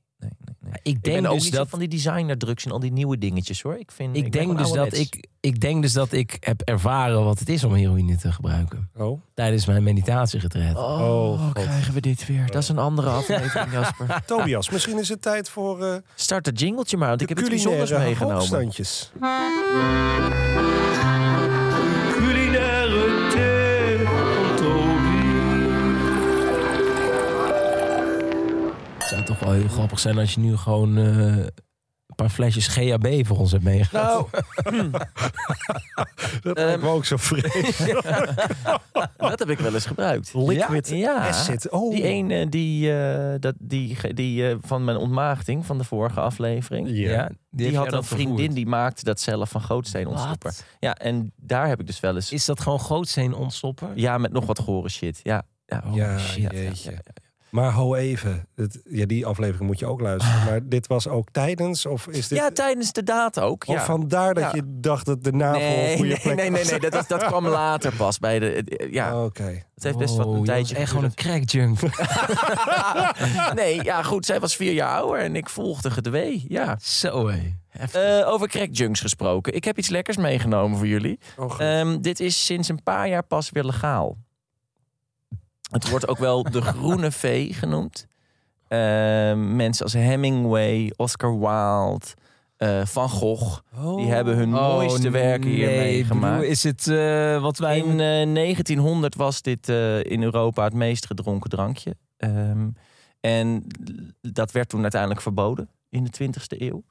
[SPEAKER 1] nee.
[SPEAKER 4] Ik
[SPEAKER 1] Ik
[SPEAKER 4] denk
[SPEAKER 1] ben ook
[SPEAKER 4] dus
[SPEAKER 1] niet zo
[SPEAKER 4] dat
[SPEAKER 1] van die designer drugs en al die nieuwe dingetjes hoor. Ik, vind,
[SPEAKER 4] ik
[SPEAKER 1] ben
[SPEAKER 4] denk
[SPEAKER 1] gewoon
[SPEAKER 4] dus dat
[SPEAKER 1] ouderwets.
[SPEAKER 4] ik ik denk dus dat ik heb ervaren wat het is om heroïne te gebruiken
[SPEAKER 2] Oh.
[SPEAKER 4] tijdens mijn meditatiegetred.
[SPEAKER 1] Oh,
[SPEAKER 2] Oh, God.
[SPEAKER 1] krijgen we dit weer. Dat is een andere aflevering, Jasper.
[SPEAKER 2] Ah, Tobias, misschien is het tijd voor eh
[SPEAKER 1] Start het jingletje maar, want
[SPEAKER 2] de
[SPEAKER 1] ik heb iets bijzonders
[SPEAKER 2] culinaire
[SPEAKER 1] meegenomen.
[SPEAKER 2] hoogstandjes.
[SPEAKER 3] Culinaire thee van
[SPEAKER 4] Het zou toch wel heel grappig zijn als je nu gewoon eh, een paar flesjes GHB voor ons hebt meegenomen.
[SPEAKER 1] Nou,
[SPEAKER 2] Dat
[SPEAKER 1] Ehm,
[SPEAKER 2] lijkt me ook zo vreemd.
[SPEAKER 1] dat heb ik wel eens gebruikt.
[SPEAKER 2] Liquid
[SPEAKER 1] Ja,
[SPEAKER 2] acid. Oh.
[SPEAKER 1] die ene die, eh, dat, die, ge- die eh, van mijn ontmaagding van de vorige aflevering.
[SPEAKER 2] Ja.
[SPEAKER 1] Die,
[SPEAKER 4] heb jij
[SPEAKER 1] had een
[SPEAKER 4] dat
[SPEAKER 1] vriendin
[SPEAKER 4] vervoerd.
[SPEAKER 1] die maakte dat zelf van gootsteen ontstopper.
[SPEAKER 4] Wat?
[SPEAKER 1] Ja, en daar heb ik dus wel eens...
[SPEAKER 4] Is dat gewoon gootsteen ontstoppen?
[SPEAKER 1] Ja, met nog wat gore shit. Ja, ja.
[SPEAKER 4] Oh,
[SPEAKER 2] Ja,
[SPEAKER 4] shit.
[SPEAKER 1] ja, ja, ja.
[SPEAKER 2] Maar ho even. Het, ja, die aflevering moet je ook luisteren. Maar dit was ook tijdens? Of is dit...
[SPEAKER 1] Ah. Ja, tijdens de daad ook.
[SPEAKER 2] of
[SPEAKER 1] Ja.
[SPEAKER 2] vandaar dat
[SPEAKER 1] Ja.
[SPEAKER 2] je dacht dat de navel een
[SPEAKER 1] Nee,
[SPEAKER 2] goede
[SPEAKER 1] nee,
[SPEAKER 2] plek
[SPEAKER 1] nee, nee,
[SPEAKER 2] was? Oh,
[SPEAKER 1] nee, dat, is, dat kwam later pas. Bij de, eh, ja,
[SPEAKER 2] Oké.
[SPEAKER 1] het heeft best wel
[SPEAKER 4] Oh,
[SPEAKER 1] een
[SPEAKER 4] je
[SPEAKER 1] tijdje
[SPEAKER 4] was echt gewoon
[SPEAKER 1] geduurd.
[SPEAKER 4] een crack junk.
[SPEAKER 1] Nee, ja, goed. Zij was vier jaar ouder en ik volgde gedwee. Ja.
[SPEAKER 4] Zo hé. Heftig.
[SPEAKER 1] Eh, over crackjunks gesproken. Ik heb iets lekkers meegenomen voor jullie.
[SPEAKER 2] Oh, goed.
[SPEAKER 1] Ehm, dit is sinds een paar jaar pas weer legaal. Het wordt ook wel de groene vee genoemd. Ehm, mensen als Hemingway, Oscar Wilde, eh, Van Gogh. Die hebben hun
[SPEAKER 4] Oh,
[SPEAKER 1] mooiste werken
[SPEAKER 4] hier
[SPEAKER 1] hiermee gemaakt.
[SPEAKER 4] Is het eh, wat wij...
[SPEAKER 1] In eh, 1900 was dit eh, in Europa het meest gedronken drankje. Ehm, en dat werd toen uiteindelijk verboden in de 20e eeuw.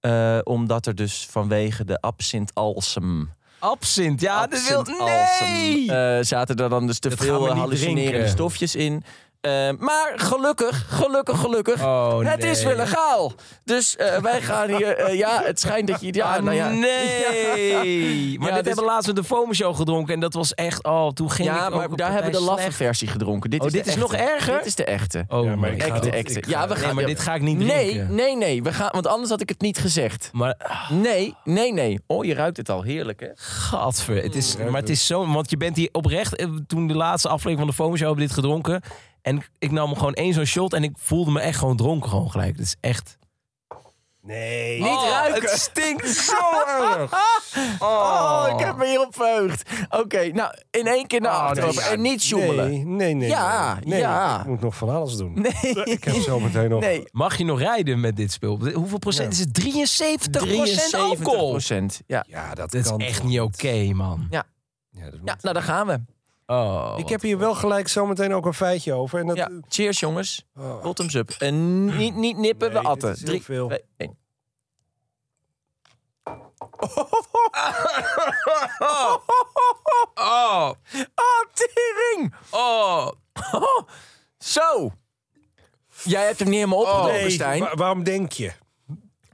[SPEAKER 1] Eh, omdat er dus vanwege de absint-alsem...
[SPEAKER 4] Absint, ja, dat wil... Nee!
[SPEAKER 1] eh, zaten er dan dus te
[SPEAKER 4] Dat gaan we
[SPEAKER 1] veel
[SPEAKER 4] niet
[SPEAKER 1] hallucinerende
[SPEAKER 4] drinken.
[SPEAKER 1] stofjes in. Eh, maar gelukkig, gelukkig, gelukkig...
[SPEAKER 4] oh,
[SPEAKER 1] het
[SPEAKER 4] nee.
[SPEAKER 1] is weer legaal. Dus eh, wij gaan hier... eh, ja, het schijnt dat je... Ja,
[SPEAKER 4] Ah,
[SPEAKER 1] nou ja.
[SPEAKER 4] nee! Maar dit
[SPEAKER 1] Ja, dus-
[SPEAKER 4] hebben we laatst met de FOMO Show gedronken. En dat was echt... Oh, toen ging ik
[SPEAKER 1] Ja,
[SPEAKER 4] ook
[SPEAKER 1] maar
[SPEAKER 4] een
[SPEAKER 1] daar
[SPEAKER 4] partij
[SPEAKER 1] hebben we de laffe
[SPEAKER 4] slecht.
[SPEAKER 1] versie gedronken. Dit
[SPEAKER 4] Oh,
[SPEAKER 1] is de
[SPEAKER 4] dit is nog
[SPEAKER 1] echte.
[SPEAKER 4] erger?
[SPEAKER 1] Dit is de echte.
[SPEAKER 4] Oh,
[SPEAKER 2] Ja, maar
[SPEAKER 4] my
[SPEAKER 2] ik ga
[SPEAKER 4] God.
[SPEAKER 1] Echte,
[SPEAKER 2] dit-
[SPEAKER 1] echte.
[SPEAKER 2] ik ga
[SPEAKER 1] Ja, we
[SPEAKER 2] dit-
[SPEAKER 1] gaan...
[SPEAKER 4] Nee, maar dit ga ik niet
[SPEAKER 1] nee,
[SPEAKER 4] drinken.
[SPEAKER 1] nee, nee. We gaan, want anders had ik het niet gezegd.
[SPEAKER 4] Maar,
[SPEAKER 1] Nee, nee, nee. Oh, je ruikt het al. Heerlijk, hè?
[SPEAKER 4] gadver. Het is, maar het is zo... Want je bent hier oprecht... eh, Toen de laatste aflevering van de FOMO Show hebben we dit gedronken. En ik nam gewoon één zo'n shot. En ik voelde me echt gewoon dronken gewoon gelijk. Het is echt...
[SPEAKER 2] Nee. Oh,
[SPEAKER 1] Niet ruiken.
[SPEAKER 4] Oh, Het stinkt zo erg.
[SPEAKER 1] Oh, ik heb me hier op verheugd. Oké, nou, in één keer naar
[SPEAKER 4] Oh,
[SPEAKER 1] achteren.
[SPEAKER 4] nee, ja,
[SPEAKER 1] en niet joemelen.
[SPEAKER 2] Nee, nee, nee.
[SPEAKER 1] Ja,
[SPEAKER 2] nee. Nee,
[SPEAKER 1] ja.
[SPEAKER 2] Ik moet nog van alles doen.
[SPEAKER 1] Nee.
[SPEAKER 2] Ik heb zo meteen nog...
[SPEAKER 1] Nee.
[SPEAKER 4] Mag je nog rijden met dit spul? Hoeveel procent is het? 73, alcohol.
[SPEAKER 1] procent. Ja.
[SPEAKER 2] Ja, dat,
[SPEAKER 4] Dat
[SPEAKER 2] kan
[SPEAKER 4] is echt
[SPEAKER 2] toch?
[SPEAKER 4] niet oké, man.
[SPEAKER 2] Ja, dat
[SPEAKER 1] ja,
[SPEAKER 2] moet-
[SPEAKER 1] nou, daar gaan we.
[SPEAKER 4] Oh,
[SPEAKER 2] ik heb hier wel gelijk zo meteen ook een feitje over. En dat,
[SPEAKER 1] Ja. Cheers, jongens.
[SPEAKER 2] Oh.
[SPEAKER 1] Bottoms up. En niet, niet nippen,
[SPEAKER 2] Nee,
[SPEAKER 1] we atten.
[SPEAKER 2] dit is heel veel.
[SPEAKER 1] twee, één.
[SPEAKER 4] Oh,
[SPEAKER 1] Oh, tering!
[SPEAKER 4] oh.
[SPEAKER 1] Zo! Jij hebt hem niet helemaal opgedronken,
[SPEAKER 2] Nee,
[SPEAKER 1] Oh, Stijn.
[SPEAKER 2] wa- waarom denk je?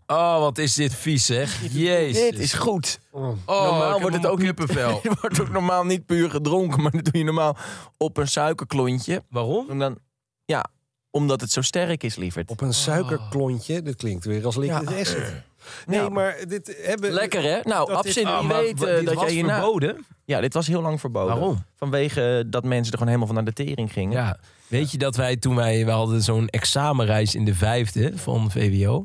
[SPEAKER 4] Oh, wat is dit vies, zeg. Jezus.
[SPEAKER 1] Dit is goed.
[SPEAKER 4] oh,
[SPEAKER 1] normaal
[SPEAKER 4] ik heb
[SPEAKER 1] wordt het
[SPEAKER 4] een
[SPEAKER 1] ook niet-
[SPEAKER 4] kippenvel.
[SPEAKER 1] Je wordt ook normaal niet puur gedronken, maar dat doe je normaal op een suikerklontje.
[SPEAKER 4] Waarom?
[SPEAKER 1] En dan, ja, omdat het zo sterk is, lieverd.
[SPEAKER 2] Op een suikerklontje. Dit klinkt weer als liquid acid. Nee,
[SPEAKER 1] Ah. Ja.
[SPEAKER 2] maar dit hebben...
[SPEAKER 1] Lekker, hè? Nou,
[SPEAKER 2] Dat is-
[SPEAKER 1] absint,
[SPEAKER 4] Ah,
[SPEAKER 1] wie
[SPEAKER 4] maar
[SPEAKER 1] weet
[SPEAKER 4] wa-
[SPEAKER 1] eh,
[SPEAKER 4] dit
[SPEAKER 1] dat
[SPEAKER 4] was
[SPEAKER 1] jij hierna...
[SPEAKER 4] verboden.
[SPEAKER 1] Ja, dit was heel lang verboden.
[SPEAKER 4] Waarom?
[SPEAKER 1] Vanwege eh, dat mensen er gewoon helemaal van naar de tering gingen.
[SPEAKER 4] Ja. Weet je dat wij toen wij, we hadden zo'n examenreis in de vijfde van VWO.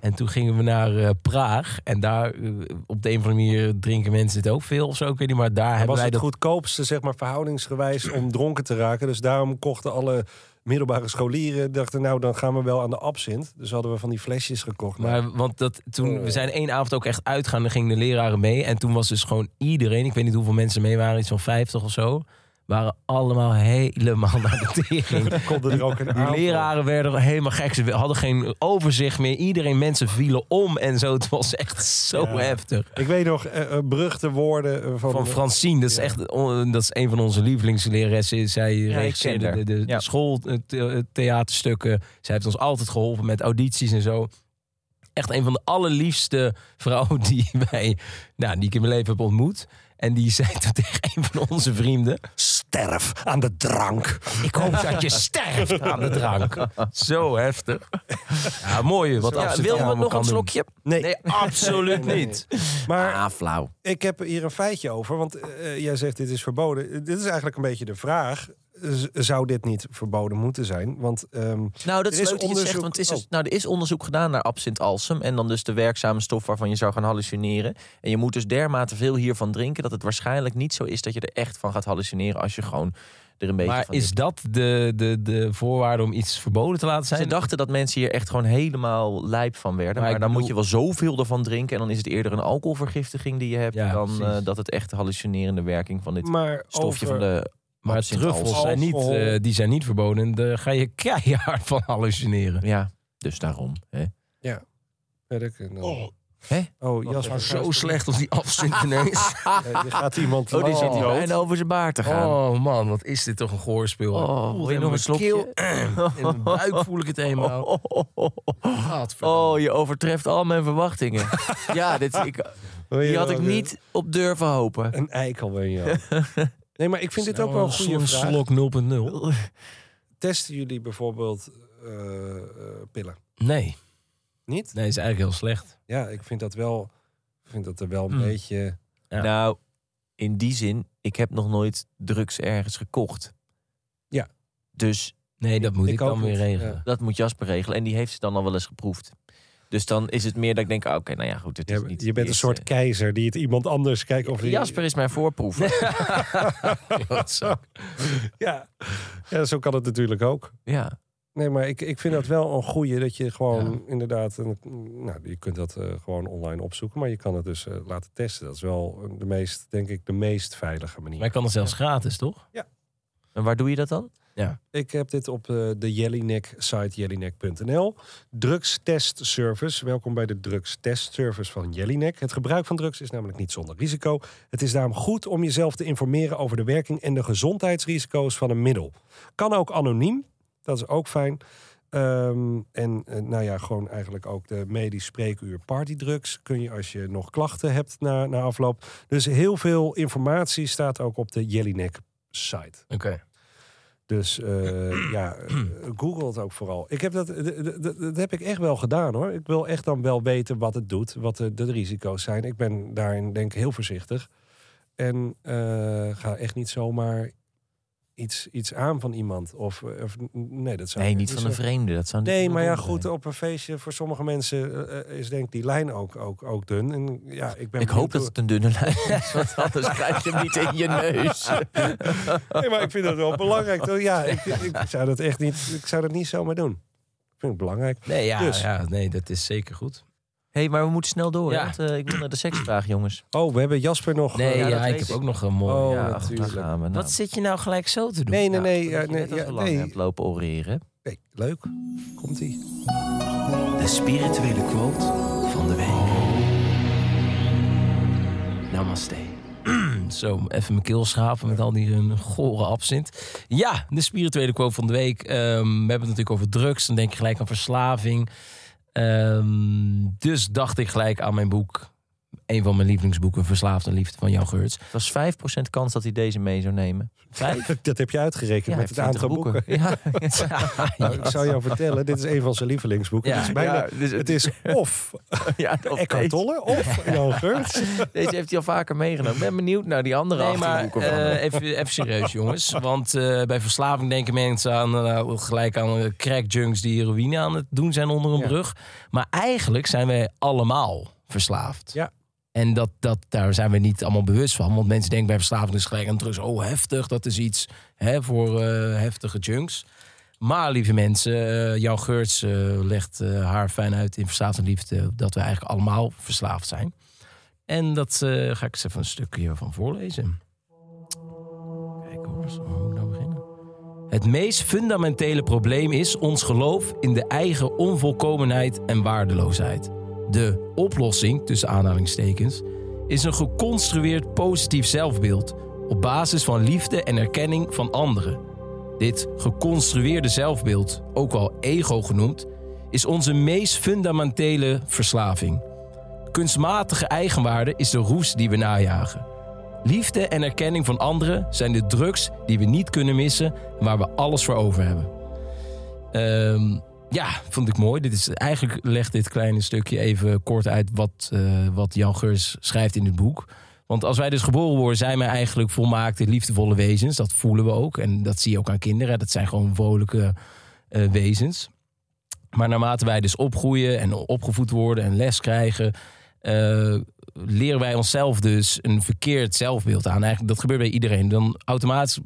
[SPEAKER 4] En toen gingen we naar eh, Praag. En daar, eh, op de een of andere manier, drinken mensen het ook veel of zo. Ik weet niet, maar daar hebben
[SPEAKER 2] was
[SPEAKER 4] wij
[SPEAKER 2] het
[SPEAKER 4] dat
[SPEAKER 2] goedkoopste, zeg maar, verhoudingsgewijs om dronken te raken. Dus daarom kochten alle middelbare scholieren, dachten nou, dan gaan we wel aan de absint. Dus hadden we van die flesjes gekocht. Nou, Maar
[SPEAKER 4] Maar want dat,
[SPEAKER 2] Oh.
[SPEAKER 4] toen, we zijn één avond ook echt uitgaan. Dan gingen de leraren mee. En toen was dus gewoon iedereen, ik weet niet hoeveel mensen mee waren, iets van 50 of zo. Waren allemaal helemaal naar de tering.
[SPEAKER 2] konden er ook een
[SPEAKER 4] Die
[SPEAKER 2] aantal.
[SPEAKER 4] leraren werden helemaal gek. Ze hadden geen overzicht meer. Iedereen, mensen vielen om en zo. Het was echt zo
[SPEAKER 2] Ja.
[SPEAKER 4] heftig.
[SPEAKER 2] Ik weet nog, eh, eh, beruchte woorden eh, van...
[SPEAKER 4] Van Francine, dat is
[SPEAKER 2] Ja.
[SPEAKER 4] echt on- dat is een van onze lievelingsleraressen. Zij regisseerde
[SPEAKER 1] ken haar.
[SPEAKER 4] de, de, eh,
[SPEAKER 1] Ja.
[SPEAKER 4] schooltheaterstukken. Zij heeft ons altijd geholpen met audities en zo. Echt een van de allerliefste vrouwen die, wij, nou, die ik in mijn leven heb ontmoet. En die zei toen tegen een van onze vrienden...
[SPEAKER 2] sterf aan de drank.
[SPEAKER 4] Ik hoop dat je sterft aan de drank. Zo heftig. Ja, mooi wat
[SPEAKER 1] Ja,
[SPEAKER 4] Amsterdam
[SPEAKER 1] wil we
[SPEAKER 4] allemaal
[SPEAKER 1] nog
[SPEAKER 4] kan
[SPEAKER 1] een
[SPEAKER 4] doen.
[SPEAKER 1] slokje?
[SPEAKER 2] Nee.
[SPEAKER 4] absoluut niet.
[SPEAKER 2] Maar
[SPEAKER 1] Ah, flauw.
[SPEAKER 2] ik heb hier een feitje over. Want eh, jij zegt dit is verboden. Eh, Dit is eigenlijk een beetje de vraag. Z- zou dit niet verboden moeten zijn? Want ehm,
[SPEAKER 1] Nou, dat
[SPEAKER 2] Er
[SPEAKER 1] is
[SPEAKER 2] is
[SPEAKER 1] leuk dat je het zegt,
[SPEAKER 2] onderzoek-
[SPEAKER 1] want er is,
[SPEAKER 2] Oh.
[SPEAKER 1] dus- nou, er is onderzoek gedaan naar absint-alsem. En dan dus de werkzame stof waarvan je zou gaan hallucineren. En je moet dus dermate veel hiervan drinken... dat het waarschijnlijk niet zo is dat je er echt van gaat hallucineren... als je gewoon er een beetje
[SPEAKER 4] Maar
[SPEAKER 1] van
[SPEAKER 4] is
[SPEAKER 1] drinkt.
[SPEAKER 4] dat de, de, de voorwaarde om iets verboden te laten zijn?
[SPEAKER 1] Ze dachten dat mensen hier echt gewoon helemaal lijp van werden.
[SPEAKER 4] Maar
[SPEAKER 1] Maar,
[SPEAKER 4] ik
[SPEAKER 1] dan moet je
[SPEAKER 4] bedoel-
[SPEAKER 1] wel zoveel ervan drinken... en dan is het eerder een alcoholvergiftiging die je hebt...
[SPEAKER 4] Ja,
[SPEAKER 1] dan eh,
[SPEAKER 4] precies.
[SPEAKER 1] dat het echt de hallucinerende werking van dit
[SPEAKER 2] Oh, maar over,
[SPEAKER 1] stofje van de...
[SPEAKER 4] maar
[SPEAKER 1] absint-alsem-
[SPEAKER 4] truffels zijn niet,
[SPEAKER 2] Alcohol.
[SPEAKER 4] eh, die zijn niet verboden. Daar ga je keihard van hallucineren.
[SPEAKER 1] Ja, dus daarom. Hè.
[SPEAKER 2] Ja, dat kan-
[SPEAKER 4] Oh.
[SPEAKER 1] Hè?
[SPEAKER 2] Oh, Jasper.
[SPEAKER 4] Maar
[SPEAKER 2] gaat-
[SPEAKER 4] zo slecht als die afzint ineens.
[SPEAKER 2] Eh, er gaat iemand
[SPEAKER 1] Oh, die
[SPEAKER 4] Oh.
[SPEAKER 1] zit hier bijna over zijn baard te gaan.
[SPEAKER 4] Oh man, wat is dit toch een gehoorspel.
[SPEAKER 1] Oh,
[SPEAKER 4] Ik voel het
[SPEAKER 1] wil
[SPEAKER 4] helemaal
[SPEAKER 1] je nog een
[SPEAKER 4] in mijn
[SPEAKER 1] slokje?
[SPEAKER 4] keel. In mijn buik voel ik het helemaal.
[SPEAKER 1] Oh, oh, oh, oh.
[SPEAKER 4] Gadverdamme.
[SPEAKER 1] Oh, je overtreft al mijn verwachtingen. ja, dit, ik,
[SPEAKER 2] Wil je
[SPEAKER 1] hier had
[SPEAKER 2] wel
[SPEAKER 1] ik
[SPEAKER 2] een-
[SPEAKER 1] niet op durven hopen.
[SPEAKER 2] Een eikel ben je. al. Nee, maar ik vind dit ook wel een goede
[SPEAKER 4] Zo'n
[SPEAKER 2] vraag.
[SPEAKER 4] slok 0.0.
[SPEAKER 2] Testen jullie bijvoorbeeld eh, eh, pillen?
[SPEAKER 4] Nee.
[SPEAKER 2] Niet?
[SPEAKER 4] Nee, is eigenlijk heel slecht.
[SPEAKER 2] Ja, ik vind dat wel. Ik vind dat er wel een
[SPEAKER 4] Hmm.
[SPEAKER 2] beetje.
[SPEAKER 4] Ja.
[SPEAKER 1] Nou, in die zin, ik heb nog nooit drugs ergens gekocht.
[SPEAKER 2] Ja.
[SPEAKER 1] Dus
[SPEAKER 4] Nee, dat moet ik,
[SPEAKER 2] Ik ook
[SPEAKER 4] dan weer
[SPEAKER 2] niet,
[SPEAKER 4] regelen.
[SPEAKER 2] ja.
[SPEAKER 1] dat moet Jasper regelen. En die heeft ze dan al wel eens geproefd. Dus dan is het meer dat ik denk, ah, oké, nou ja, goed. Het is
[SPEAKER 2] Je,
[SPEAKER 1] niet
[SPEAKER 2] je bent een
[SPEAKER 1] dit,
[SPEAKER 2] soort
[SPEAKER 1] eh,
[SPEAKER 2] keizer die het iemand anders kijkt. Of die-
[SPEAKER 1] Jasper is mijn voorproef.
[SPEAKER 4] Godzak.
[SPEAKER 2] Ja. ja, zo kan het natuurlijk ook.
[SPEAKER 1] Ja.
[SPEAKER 2] Nee, maar ik, ik vind dat wel een goeie dat je gewoon inderdaad. Een, nou, je kunt dat eh, gewoon online opzoeken, maar je kan het dus eh, laten testen. Dat is wel de meest, denk ik, de meest veilige manier.
[SPEAKER 4] Maar ik kan het zelfs gratis, toch?
[SPEAKER 1] En waar doe je dat dan?
[SPEAKER 2] Ik heb dit op eh, de Jellinek site jellinek.nl. Drugstestservice. Welkom bij de drugstestservice van Jellinek. Het gebruik van drugs is namelijk niet zonder risico. Het is daarom goed om jezelf te informeren over de werking en de gezondheidsrisico's van een middel. Kan ook anoniem, dat is ook fijn. Ehm, en eh, nou ja, gewoon eigenlijk ook de medisch spreekuur partydrugs. Kun je als je nog klachten hebt na, na afloop. Dus heel veel informatie staat ook op de Jellinek site.
[SPEAKER 4] Oké.
[SPEAKER 2] Dus eh, ja, eh, Google het ook vooral. Ik heb dat, d- d- d- dat heb ik echt wel gedaan hoor. Ik wil echt dan wel weten wat het doet, wat de, de risico's zijn. Ik ben daarin denk ik heel voorzichtig. En eh, ga echt niet zomaar iets, iets aan van iemand. Of, of- nee, dat zou
[SPEAKER 1] Nee,
[SPEAKER 2] ik
[SPEAKER 1] niet van een
[SPEAKER 2] zeggen.
[SPEAKER 1] vreemde. Dat zou
[SPEAKER 2] Nee, maar ja,
[SPEAKER 1] dom zijn.
[SPEAKER 2] goed, oh, op een feestje voor sommige mensen eh, is denk ik die lijn ook, ook, ook dun. En ja, ik ben
[SPEAKER 1] Ik hoop
[SPEAKER 2] benieuwd
[SPEAKER 1] dat
[SPEAKER 2] hoe-
[SPEAKER 1] het een dunne lijn is, want anders krijg je hem niet in je neus.
[SPEAKER 2] Nee, maar ik vind dat wel belangrijk. toch? Ja, ik, ik zou dat echt niet, ik zou dat niet zomaar doen. Ik vind het belangrijk.
[SPEAKER 4] Nee, ja,
[SPEAKER 2] Dus.
[SPEAKER 4] ja, nee, dat is zeker goed.
[SPEAKER 1] Hé, hey, maar we moeten snel door, hè,
[SPEAKER 4] Ja.
[SPEAKER 1] want eh, ik wil naar de seksvraag, jongens.
[SPEAKER 2] Oh, we hebben Jasper nog.
[SPEAKER 4] Nee,
[SPEAKER 2] eh,
[SPEAKER 4] ja,
[SPEAKER 1] dat
[SPEAKER 4] ik
[SPEAKER 1] weet
[SPEAKER 4] heb
[SPEAKER 1] ik.
[SPEAKER 4] ook nog een mooi.
[SPEAKER 2] Oh,
[SPEAKER 1] ja, ach,
[SPEAKER 2] natuurlijk.
[SPEAKER 1] daar gaan we. Nou,
[SPEAKER 4] Wat zit je nou gelijk zo te doen?
[SPEAKER 2] nee, nee, nee.
[SPEAKER 1] ja,
[SPEAKER 2] ja, nee, ja,
[SPEAKER 1] lang
[SPEAKER 2] nee.
[SPEAKER 1] hebt lopen oreren.
[SPEAKER 2] Nee, Leuk. Komt ie.
[SPEAKER 5] De spirituele quote van de week. Namaste.
[SPEAKER 4] Zo, even mijn keel schapen met al die eh, gore absint. Ja, de spirituele quote van de week. Ehm, we hebben het natuurlijk over drugs. Dan denk je gelijk aan verslaving. Ehm, dus dacht ik gelijk aan mijn boek. Een van mijn lievelingsboeken, Verslaafd en Liefde van Jan Geurts.
[SPEAKER 1] Het was 5% kans dat hij deze mee zou nemen.
[SPEAKER 4] Vijf?
[SPEAKER 2] Dat heb je uitgerekend
[SPEAKER 1] Ja,
[SPEAKER 2] met het aantal
[SPEAKER 1] 20
[SPEAKER 2] boeken.
[SPEAKER 1] Ja,
[SPEAKER 2] Nou, ik zou jou vertellen, dit is een van zijn lievelingsboeken.
[SPEAKER 4] Ja,
[SPEAKER 2] het, is bijna,
[SPEAKER 1] ja, dus
[SPEAKER 2] het is of
[SPEAKER 1] ja, of
[SPEAKER 2] Eckhart
[SPEAKER 1] deze,
[SPEAKER 2] Tolle of Jan Geurts.
[SPEAKER 1] deze heeft hij al vaker meegenomen. Ik ben benieuwd naar die andere
[SPEAKER 4] Nee, maar
[SPEAKER 1] achterboeken van hem.
[SPEAKER 4] eh, even, even serieus, jongens. Want eh, bij verslaving denken mensen aan, eh, gelijk aan eh, crackjunks die heroïne aan het doen zijn onder een
[SPEAKER 2] Ja.
[SPEAKER 4] brug. Maar eigenlijk zijn wij allemaal verslaafd.
[SPEAKER 2] Ja.
[SPEAKER 4] En dat, dat, daar zijn we niet allemaal bewust van. Want mensen denken bij verslaving is gelijk aan drugs. Oh, heftig, dat is iets hè, voor eh, heftige junks. Maar lieve mensen, eh, Jan Geurts eh, legt eh, haar fijn uit in Verslaafd en Liefde... dat we eigenlijk allemaal verslaafd zijn. En dat eh, ga ik eens even een stukje van voorlezen. Kijk hoor, zo moet ik nou beginnen. Het meest fundamentele probleem is ons geloof in de eigen onvolkomenheid en waardeloosheid. De oplossing, tussen aanhalingstekens, is een geconstrueerd positief zelfbeeld op basis van liefde en erkenning van anderen. Dit geconstrueerde zelfbeeld, ook wel ego genoemd, is onze meest fundamentele verslaving. Kunstmatige eigenwaarde is de roes die we najagen. Liefde en erkenning van anderen zijn de drugs die we niet kunnen missen, waar we alles voor over hebben. Ehm, ja, vond ik mooi. Dit is, eigenlijk legt dit kleine stukje even kort uit wat, eh, wat Jan Geurs schrijft in het boek. Want als wij dus geboren worden, zijn wij eigenlijk volmaakte, liefdevolle wezens. Dat voelen we ook. En dat zie je ook aan kinderen. Dat zijn gewoon vrolijke eh, wezens. Maar naarmate wij dus opgroeien en opgevoed worden en les krijgen, eh, leren wij onszelf dus een verkeerd zelfbeeld aan. Eigenlijk, dat gebeurt bij iedereen. Dan automatisch,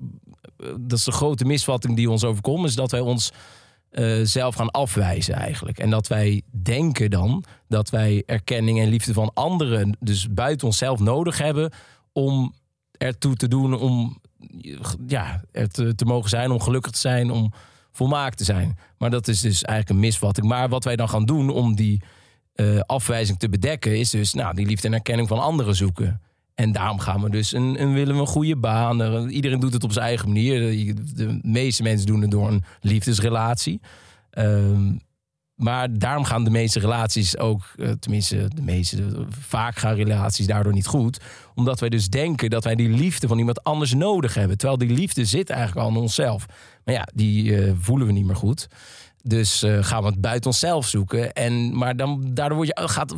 [SPEAKER 4] eh, dat is de grote misvatting die ons overkomt, is dat wij ons eh, zelf gaan afwijzen eigenlijk. En dat wij denken dan dat wij erkenning en liefde van anderen, dus buiten onszelf, nodig hebben om ertoe te doen, om ja, er te, te mogen zijn, om gelukkig te zijn, om volmaakt te zijn. Maar dat is dus eigenlijk een misvatting. Maar wat wij dan gaan doen om die eh, afwijzing te bedekken, is dus nou, die liefde en erkenning van anderen zoeken. En daarom gaan we dus een, een willen we een goede baan. Er- Iedereen doet het op zijn eigen manier. De, de meeste mensen doen het door een liefdesrelatie. Ehm, maar daarom gaan de meeste relaties ook, eh, tenminste de meeste, de- vaak gaan relaties daardoor niet goed. Omdat wij dus denken dat wij die liefde van iemand anders nodig hebben. Terwijl die liefde zit eigenlijk al in onszelf. Maar ja, die eh, voelen we niet meer goed. Dus eh, gaan we het buiten onszelf zoeken. En, maar dan, daardoor word je, oh, gaat,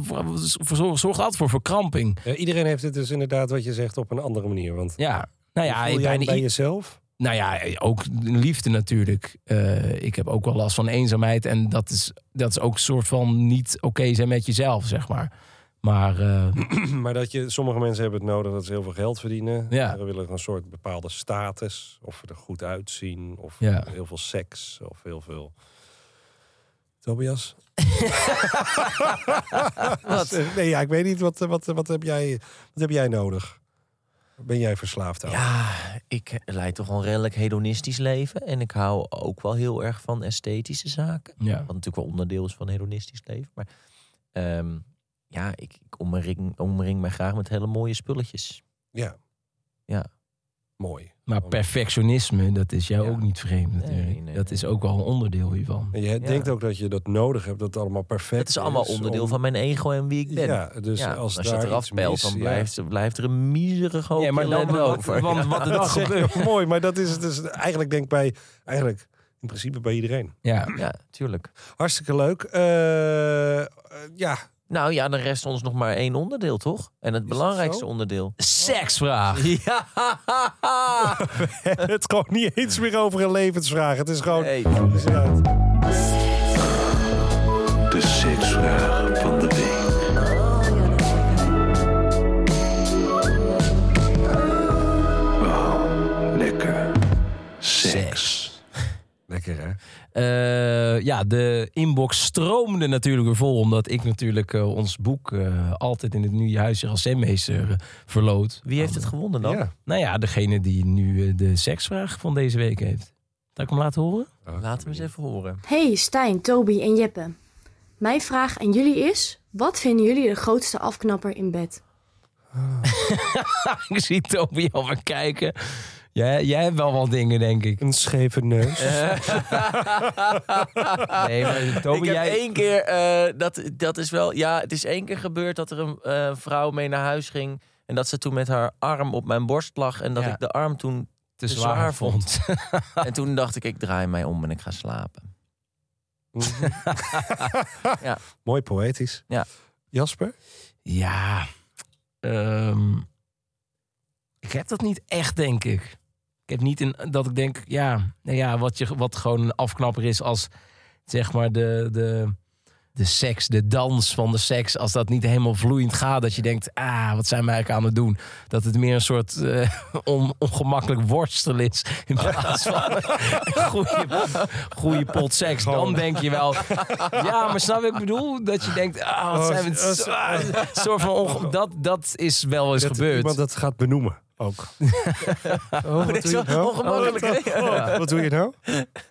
[SPEAKER 4] zorgt zorg altijd voor verkramping.
[SPEAKER 2] Ja, iedereen heeft het dus inderdaad wat je zegt op een andere manier. Want
[SPEAKER 4] Ja, nou ja,
[SPEAKER 2] voel jij
[SPEAKER 4] bijna
[SPEAKER 2] het bij
[SPEAKER 4] i-
[SPEAKER 2] jezelf?
[SPEAKER 4] nou ja, ook liefde natuurlijk. Eh, ik heb ook wel last van eenzaamheid. En dat is, dat is ook een soort van niet oké zijn met jezelf, zeg maar. Maar eh,
[SPEAKER 2] Maar dat je, sommige mensen hebben het nodig dat ze heel veel geld verdienen.
[SPEAKER 4] Ja.
[SPEAKER 2] Anderen willen een soort bepaalde status. Of er goed uitzien. Of
[SPEAKER 4] Ja.
[SPEAKER 2] heel veel seks. Of heel veel... Tobias? Nee, ja, ik weet niet. Wat, eh, wat, eh, wat, heb, jij, wat heb jij nodig? Ben jij verslaafd aan?
[SPEAKER 1] Ja, ik leid toch wel een redelijk hedonistisch leven. En ik hou ook wel heel erg van esthetische zaken.
[SPEAKER 4] ja.
[SPEAKER 1] Wat natuurlijk wel onderdeel is van hedonistisch leven. Maar ehm, ja, ik, ik omring, omring mij graag met hele mooie spulletjes.
[SPEAKER 2] Ja.
[SPEAKER 1] Ja.
[SPEAKER 2] Mooi.
[SPEAKER 4] maar perfectionisme, dat is jou
[SPEAKER 1] Ja.
[SPEAKER 4] ook niet vreemd natuurlijk.
[SPEAKER 1] Nee, nee,
[SPEAKER 4] dat
[SPEAKER 1] nee.
[SPEAKER 4] is ook wel een onderdeel hiervan.
[SPEAKER 2] En je denkt ook dat je dat nodig hebt. Dat het allemaal perfect
[SPEAKER 1] Het is allemaal
[SPEAKER 2] Dus om-
[SPEAKER 1] onderdeel van mijn ego en wie ik ben.
[SPEAKER 2] Ja, dus
[SPEAKER 1] Ja,
[SPEAKER 2] als,
[SPEAKER 1] als je
[SPEAKER 2] daar
[SPEAKER 1] het eraf
[SPEAKER 2] iets
[SPEAKER 1] pelt,
[SPEAKER 2] mis-
[SPEAKER 1] dan
[SPEAKER 2] ja.
[SPEAKER 1] blijft, blijft er een miserig hoop ellende over.
[SPEAKER 4] want wat
[SPEAKER 2] Dat
[SPEAKER 4] het
[SPEAKER 2] is
[SPEAKER 4] gebeurt.
[SPEAKER 2] echt mooi, maar dat is het dus eigenlijk denk ik bij eigenlijk in principe bij iedereen.
[SPEAKER 4] Ja,
[SPEAKER 1] Ja, tuurlijk.
[SPEAKER 2] Hartstikke leuk. Eh, eh, ja,
[SPEAKER 1] Nou ja, dan rest ons nog maar één onderdeel, toch? En het belangrijkste
[SPEAKER 2] zo?
[SPEAKER 1] onderdeel.
[SPEAKER 4] seksvraag.
[SPEAKER 1] Ja!
[SPEAKER 2] het gewoon niet eens meer over een levensvraag. Het is gewoon.
[SPEAKER 1] Hey.
[SPEAKER 2] Het is inderdaad-
[SPEAKER 3] De seksvraag van de week. Wauw, lekker. Seks.
[SPEAKER 2] Lekker hè?
[SPEAKER 4] Eh, ja, de inbox stroomde natuurlijk weer vol. Omdat ik natuurlijk eh, ons boek eh, altijd in het nieuwe huisje als zenmeester eh, verloot.
[SPEAKER 1] Wie heeft het gewonnen dan?
[SPEAKER 2] Ja.
[SPEAKER 4] Nou ja, degene die nu eh, de seksvraag van deze week heeft. Dat ik hem laten horen?
[SPEAKER 1] Laten we eens even horen.
[SPEAKER 6] Hey Stijn, Toby en Jeppe. Mijn vraag aan jullie is: wat vinden jullie de grootste afknapper in bed?
[SPEAKER 4] Ik zie Toby al maar kijken. Jij, jij hebt wel wat dingen, denk ik.
[SPEAKER 2] Een scheve neus.
[SPEAKER 4] Eh. Nee, maar
[SPEAKER 1] ik
[SPEAKER 4] Toby,
[SPEAKER 1] heb
[SPEAKER 4] jij...
[SPEAKER 1] één keer, eh, dat, dat is wel, ja, het is één keer gebeurd dat er een eh, vrouw mee naar huis ging. En dat ze toen met haar arm op mijn borst lag. En dat
[SPEAKER 4] Ja.
[SPEAKER 1] ik de arm toen.
[SPEAKER 4] te
[SPEAKER 1] zwaar
[SPEAKER 4] zwaar vond.
[SPEAKER 1] En toen dacht ik, ik draai mij om en ik ga slapen.
[SPEAKER 2] Mhm.
[SPEAKER 1] Ja.
[SPEAKER 2] Mooi poëtisch.
[SPEAKER 1] Ja.
[SPEAKER 2] Jasper?
[SPEAKER 4] Ja. ehm, ik heb dat niet echt, denk ik. Ik heb niet een, dat ik denk, ja, nou ja wat, je, wat gewoon een afknapper is als zeg maar de, de, de seks, de dans van de seks. Als dat niet helemaal vloeiend gaat, dat je denkt, ah, wat zijn we eigenlijk aan het doen? Dat het meer een soort eh, on- ongemakkelijk worstel is in plaats van een goede, goede pot seks. Dan denk je wel, ja, maar snap je wat ik bedoel? Dat je denkt, ah, wat
[SPEAKER 2] Oh,
[SPEAKER 4] zijn we...
[SPEAKER 2] oh,
[SPEAKER 4] zo- ah, soort van onge- dat, dat is wel eens
[SPEAKER 2] Dat
[SPEAKER 4] gebeurd.
[SPEAKER 2] Iemand dat gaat benoemen ook. oh, wat, doe je nou?
[SPEAKER 1] ongemakkelijk, hè?
[SPEAKER 2] Oh, wat doe je nou?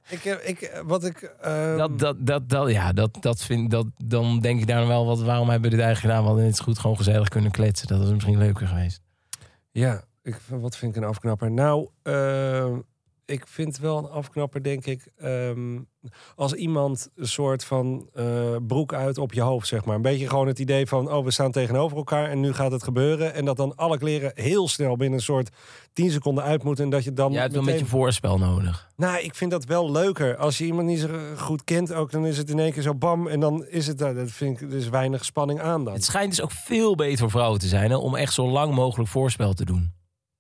[SPEAKER 2] Ik, heb- ik, eh, wat ik, ehm,
[SPEAKER 4] Dat, dat, dat, dat, ja, dat, dat vind, dat, dan denk ik daar wel wat. Waarom hebben we dit eigenlijk gedaan? We hadden net zo goed gewoon gezellig kunnen kletsen. Dat was misschien leuker geweest.
[SPEAKER 2] Ja, ik, wat vind ik een afknapper? Nou, eh, ik vind wel een afknapper, denk ik. ehm, als iemand een soort van eh, broek uit op je hoofd, zeg maar. Een beetje gewoon het idee van, oh, we staan tegenover elkaar en nu gaat het gebeuren. En dat dan alle kleren heel snel binnen een soort 10 seconden uit moeten. En dat je dan
[SPEAKER 4] Jij hebt wel een
[SPEAKER 2] meteen-
[SPEAKER 4] beetje voorspel nodig.
[SPEAKER 2] Nou, ik vind dat wel leuker. Als je iemand niet zo goed kent ook, dan is het in één keer zo bam. En dan is het, daar. dat vind ik, er is weinig spanning aan dan.
[SPEAKER 4] Het schijnt dus ook veel beter voor vrouwen te zijn hè, om echt zo lang mogelijk voorspel te doen.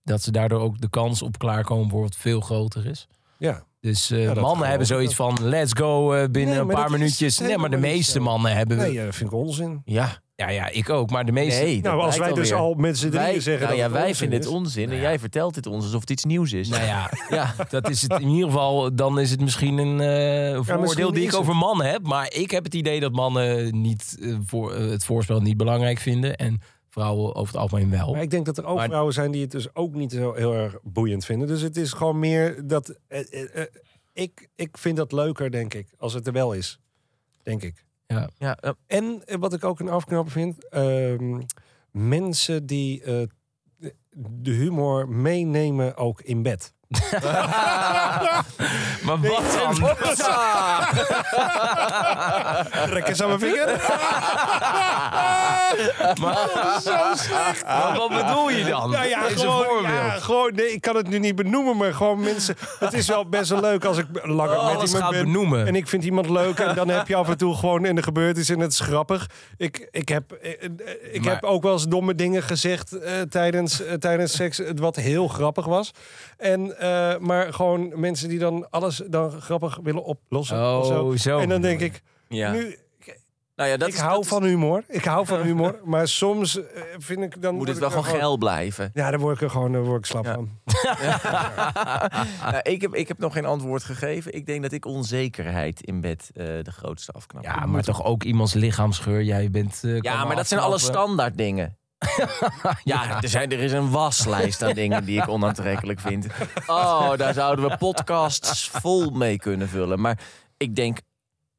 [SPEAKER 4] Dat ze daardoor ook de kans op klaarkomen bijvoorbeeld veel groter is.
[SPEAKER 2] Ja.
[SPEAKER 4] Dus eh,
[SPEAKER 2] Ja, dat geloof
[SPEAKER 4] mannen hebben
[SPEAKER 2] ik
[SPEAKER 4] zoiets van let's go eh, binnen
[SPEAKER 2] Nee,
[SPEAKER 4] een
[SPEAKER 2] maar
[SPEAKER 4] paar
[SPEAKER 2] dat is
[SPEAKER 4] minuutjes. Nee, maar de
[SPEAKER 2] helemaal niet
[SPEAKER 4] meeste
[SPEAKER 2] zo.
[SPEAKER 4] mannen hebben...
[SPEAKER 2] Nee, eh, vind ik onzin.
[SPEAKER 1] Ja,
[SPEAKER 4] Ja, ja, ik ook. Maar de meeste...
[SPEAKER 1] nee. dat
[SPEAKER 2] Nou, als
[SPEAKER 1] blijkt
[SPEAKER 2] wij dus
[SPEAKER 1] alweer.
[SPEAKER 2] al met z'n drieën
[SPEAKER 1] Wij,
[SPEAKER 2] zeggen
[SPEAKER 1] nou
[SPEAKER 2] dat
[SPEAKER 1] ja,
[SPEAKER 2] het
[SPEAKER 1] wij
[SPEAKER 2] onzin
[SPEAKER 1] vinden het
[SPEAKER 2] is. Nou
[SPEAKER 1] onzin en jij vertelt het ons alsof het iets nieuws is.
[SPEAKER 4] Nou ja,
[SPEAKER 1] Ja,
[SPEAKER 4] dat is het in ieder geval. Dan is het misschien een eh vooroordeel
[SPEAKER 2] misschien
[SPEAKER 4] die
[SPEAKER 2] is
[SPEAKER 4] ik
[SPEAKER 2] het.
[SPEAKER 4] over mannen heb. Maar ik heb het idee dat mannen niet, eh, voor, eh, het voorspel niet belangrijk vinden. En vrouwen over het algemeen wel.
[SPEAKER 2] Maar ik denk dat er ook
[SPEAKER 4] Maar-
[SPEAKER 2] vrouwen zijn die het dus ook niet zo heel erg boeiend vinden. Dus het is gewoon meer dat... eh, eh, eh, ik, ik vind dat leuker, denk ik, als het er wel is. Denk ik.
[SPEAKER 1] ja, eh,
[SPEAKER 2] En eh, wat ik ook een afknapper vind... ehm, mensen die eh, de humor meenemen ook in bed.
[SPEAKER 4] Maar wat dan?
[SPEAKER 2] Trek eens aan mijn vinger.
[SPEAKER 4] Maar,
[SPEAKER 2] Zo slecht.
[SPEAKER 1] Ah,
[SPEAKER 4] maar wat bedoel je dan?
[SPEAKER 2] Nou ja,
[SPEAKER 4] Is een
[SPEAKER 2] gewoon,
[SPEAKER 4] voorbeeld.
[SPEAKER 2] ja, gewoon nee, ik kan het nu niet benoemen, maar gewoon mensen. Het is wel best wel leuk als ik langer
[SPEAKER 1] Oh,
[SPEAKER 2] met
[SPEAKER 4] Alles
[SPEAKER 2] iemand
[SPEAKER 4] gaat
[SPEAKER 2] ben.
[SPEAKER 4] benoemen.
[SPEAKER 2] En ik vind iemand leuk en dan heb je af en toe gewoon en er gebeurt iets en het is grappig. Ik, ik, heb, eh, eh, ik
[SPEAKER 4] Maar-
[SPEAKER 2] heb ook wel eens domme dingen gezegd eh, tijdens, eh, tijdens seks, eh, wat heel grappig was. En, eh, maar gewoon mensen die dan alles dan grappig willen oplossen. of
[SPEAKER 4] Oh, zo.
[SPEAKER 2] En dan denk ik,
[SPEAKER 1] ja.
[SPEAKER 2] nu,
[SPEAKER 1] nou ja, dat
[SPEAKER 2] ik
[SPEAKER 1] is-
[SPEAKER 2] hou
[SPEAKER 1] dat is-
[SPEAKER 2] van humor. Ik hou van humor, maar soms eh, vind ik dan...
[SPEAKER 1] moet
[SPEAKER 2] word
[SPEAKER 1] het
[SPEAKER 2] ik
[SPEAKER 1] wel
[SPEAKER 2] er
[SPEAKER 1] gewoon geil blijven.
[SPEAKER 2] Ja, daar word ik er gewoon daar word ik slap
[SPEAKER 1] Ja.
[SPEAKER 2] van.
[SPEAKER 1] Nou, ik, heb, ik heb nog geen antwoord gegeven. Ik denk dat ik onzekerheid in bed eh, de grootste afknap.
[SPEAKER 4] Ja, maar toch ook iemands lichaamsgeur. Jij bent... eh, kan
[SPEAKER 1] Ja, maar
[SPEAKER 4] wel
[SPEAKER 1] dat zijn alle
[SPEAKER 4] afknappen.
[SPEAKER 1] standaard dingen. ja, er, zijn, er is een waslijst aan dingen die ik onaantrekkelijk vind. Oh, daar zouden we podcasts vol mee kunnen vullen. Maar ik denk,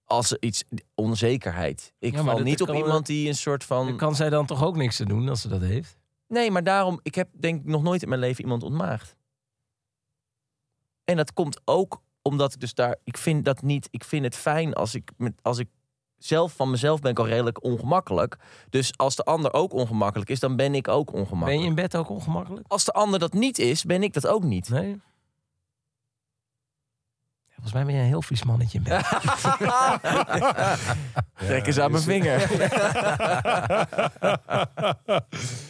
[SPEAKER 1] als er iets... Onzekerheid. Ik
[SPEAKER 4] Ja, maar
[SPEAKER 1] val
[SPEAKER 4] dat
[SPEAKER 1] niet op
[SPEAKER 4] kan-
[SPEAKER 1] iemand die een soort van...
[SPEAKER 4] Kan zij dan toch ook niks te doen als ze dat heeft?
[SPEAKER 1] Nee, maar daarom... Ik heb denk ik nog nooit in mijn leven iemand ontmaagd. En dat komt ook omdat ik dus daar... Ik vind dat niet... Ik vind het fijn als ik, met, als ik zelf van mezelf ben ik al redelijk ongemakkelijk. Dus als de ander ook ongemakkelijk is, dan ben ik ook ongemakkelijk.
[SPEAKER 4] Ben je in bed ook ongemakkelijk?
[SPEAKER 1] als de ander dat niet is, ben ik dat ook niet.
[SPEAKER 4] Nee. Ja, Volgens mij ben je een heel vies mannetje in bed.
[SPEAKER 1] Trek eens aan
[SPEAKER 2] dus-
[SPEAKER 1] mijn vinger.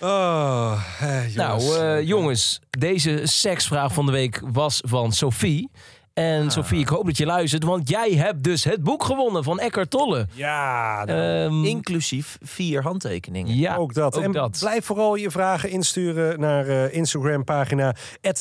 [SPEAKER 2] Oh, eh,
[SPEAKER 4] Nou,
[SPEAKER 2] jongens.
[SPEAKER 4] eh, jongens, deze seksvraag van de week was van Sophie. En Sophie, ik hoop dat je luistert, want jij hebt dus het boek gewonnen van Eckhart Tolle.
[SPEAKER 2] ja,
[SPEAKER 1] Eh,
[SPEAKER 2] nou,
[SPEAKER 4] Ehm,
[SPEAKER 1] Inclusief vier handtekeningen.
[SPEAKER 4] ja,
[SPEAKER 2] ook dat.
[SPEAKER 4] ook
[SPEAKER 2] en
[SPEAKER 4] dat.
[SPEAKER 2] blijf vooral je vragen insturen naar eh Instagram pagina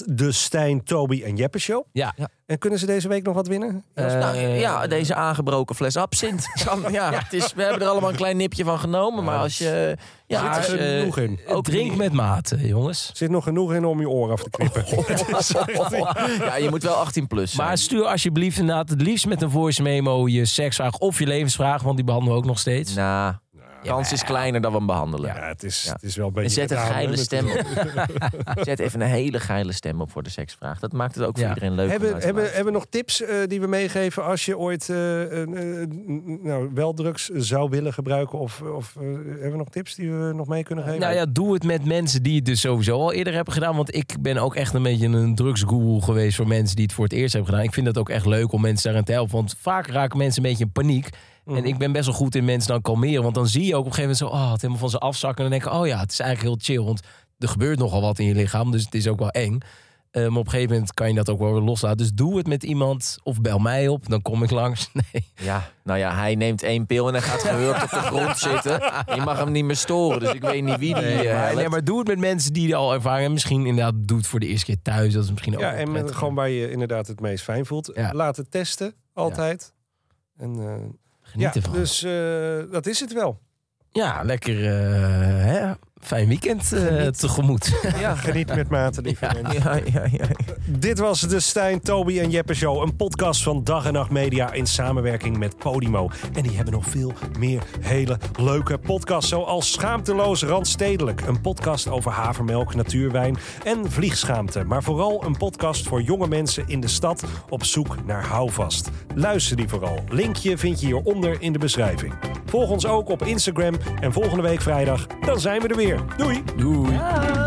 [SPEAKER 2] de Stijn, Toby en Jeppe Show.
[SPEAKER 4] Ja.
[SPEAKER 2] En kunnen ze deze week nog wat winnen?
[SPEAKER 4] Eh,
[SPEAKER 1] Nou, ja, deze aangebroken fles absint. Kan, ja, het is, we hebben er allemaal een klein nipje van genomen. Maar als je... Ja,
[SPEAKER 2] Zit
[SPEAKER 1] als
[SPEAKER 2] er
[SPEAKER 1] je-
[SPEAKER 2] genoeg in?
[SPEAKER 1] eh, ook
[SPEAKER 4] eh, drink
[SPEAKER 1] niet-
[SPEAKER 4] met mate, jongens.
[SPEAKER 2] Zit nog genoeg in om je oor af te knippen.
[SPEAKER 1] Oh, Ja, je moet wel 18 plus zijn.
[SPEAKER 4] Maar stuur alsjeblieft inderdaad het liefst met een voice memo je seksvraag of je levensvraag, want die behandelen we ook nog steeds.
[SPEAKER 1] Nou, kans is kleiner dan we hem behandelen.
[SPEAKER 2] Ja, het is, het is wel een beetje...
[SPEAKER 1] En zet een
[SPEAKER 2] gedaan, hè,
[SPEAKER 1] geile
[SPEAKER 2] met-
[SPEAKER 1] stem op. Zet even een hele geile stem op voor de seksvraag. Dat maakt het ook
[SPEAKER 4] Ja.
[SPEAKER 1] voor iedereen leuk. om
[SPEAKER 2] Hebben,
[SPEAKER 1] naar te
[SPEAKER 2] hebben,
[SPEAKER 1] luisteren.
[SPEAKER 2] hebben we nog tips eh, die we meegeven als je ooit eh, een, eh, n- nou, wel drugs zou willen gebruiken? Of, of eh, hebben we nog tips die we nog mee kunnen geven?
[SPEAKER 4] Nou ja, doe het met mensen die het dus sowieso al eerder hebben gedaan. Want ik ben ook echt een beetje een drugsguru geweest voor mensen die het voor het eerst hebben gedaan. Ik vind dat ook echt leuk om mensen daarin te helpen. Want vaak raken mensen een beetje in paniek.
[SPEAKER 2] Mhm.
[SPEAKER 4] En ik ben best wel goed in mensen dan kalmeren. Want dan zie je ook op een gegeven moment zo, oh, het helemaal van ze afzakken. En dan denk ik, oh ja, het is eigenlijk heel chill. Want er gebeurt nogal wat in je lichaam, dus het is ook wel eng. Eh, maar op een gegeven moment kan je dat ook wel weer loslaten. Dus doe het met iemand of bel mij op, dan kom ik langs. Nee.
[SPEAKER 1] Ja, nou ja, hij neemt één pil en hij gaat gehurkt op de grond zitten. Je mag hem niet meer storen, dus ik weet niet wie die eh,
[SPEAKER 4] maar,
[SPEAKER 1] helpt.
[SPEAKER 4] nee, maar doe het met mensen die er al ervaring hebben. Misschien inderdaad doe het voor de eerste keer thuis. Dat is misschien ook
[SPEAKER 2] Ja,
[SPEAKER 4] wel
[SPEAKER 2] en met-
[SPEAKER 4] prettig.
[SPEAKER 2] gewoon waar je inderdaad het meest fijn voelt.
[SPEAKER 4] oh, Ja.
[SPEAKER 2] Laat het testen, altijd. En, eh, ja,
[SPEAKER 4] Geniet ervan.
[SPEAKER 2] dus eh, dat is het wel.
[SPEAKER 4] Ja, lekker eh, hè? Fijn weekend eh, tegemoet.
[SPEAKER 1] Ja.
[SPEAKER 2] Geniet met mate, lieve mensen.
[SPEAKER 1] Ja, ja, ja.
[SPEAKER 2] Dit was de Stijn, Toby en Jeppe Show. Een podcast van Dag en Nacht Media in samenwerking met Podimo. En die hebben nog veel meer hele leuke podcasts. Zoals Schaamteloos Randstedelijk. Een podcast over havermelk, natuurwijn en vliegschaamte. Maar vooral een podcast voor jonge mensen in de stad op zoek naar houvast. Luister die vooral. Linkje vind je hieronder in de beschrijving. Volg ons ook op Instagram. En volgende week vrijdag, dan zijn we er weer. Doei!
[SPEAKER 4] Doei.
[SPEAKER 1] ja.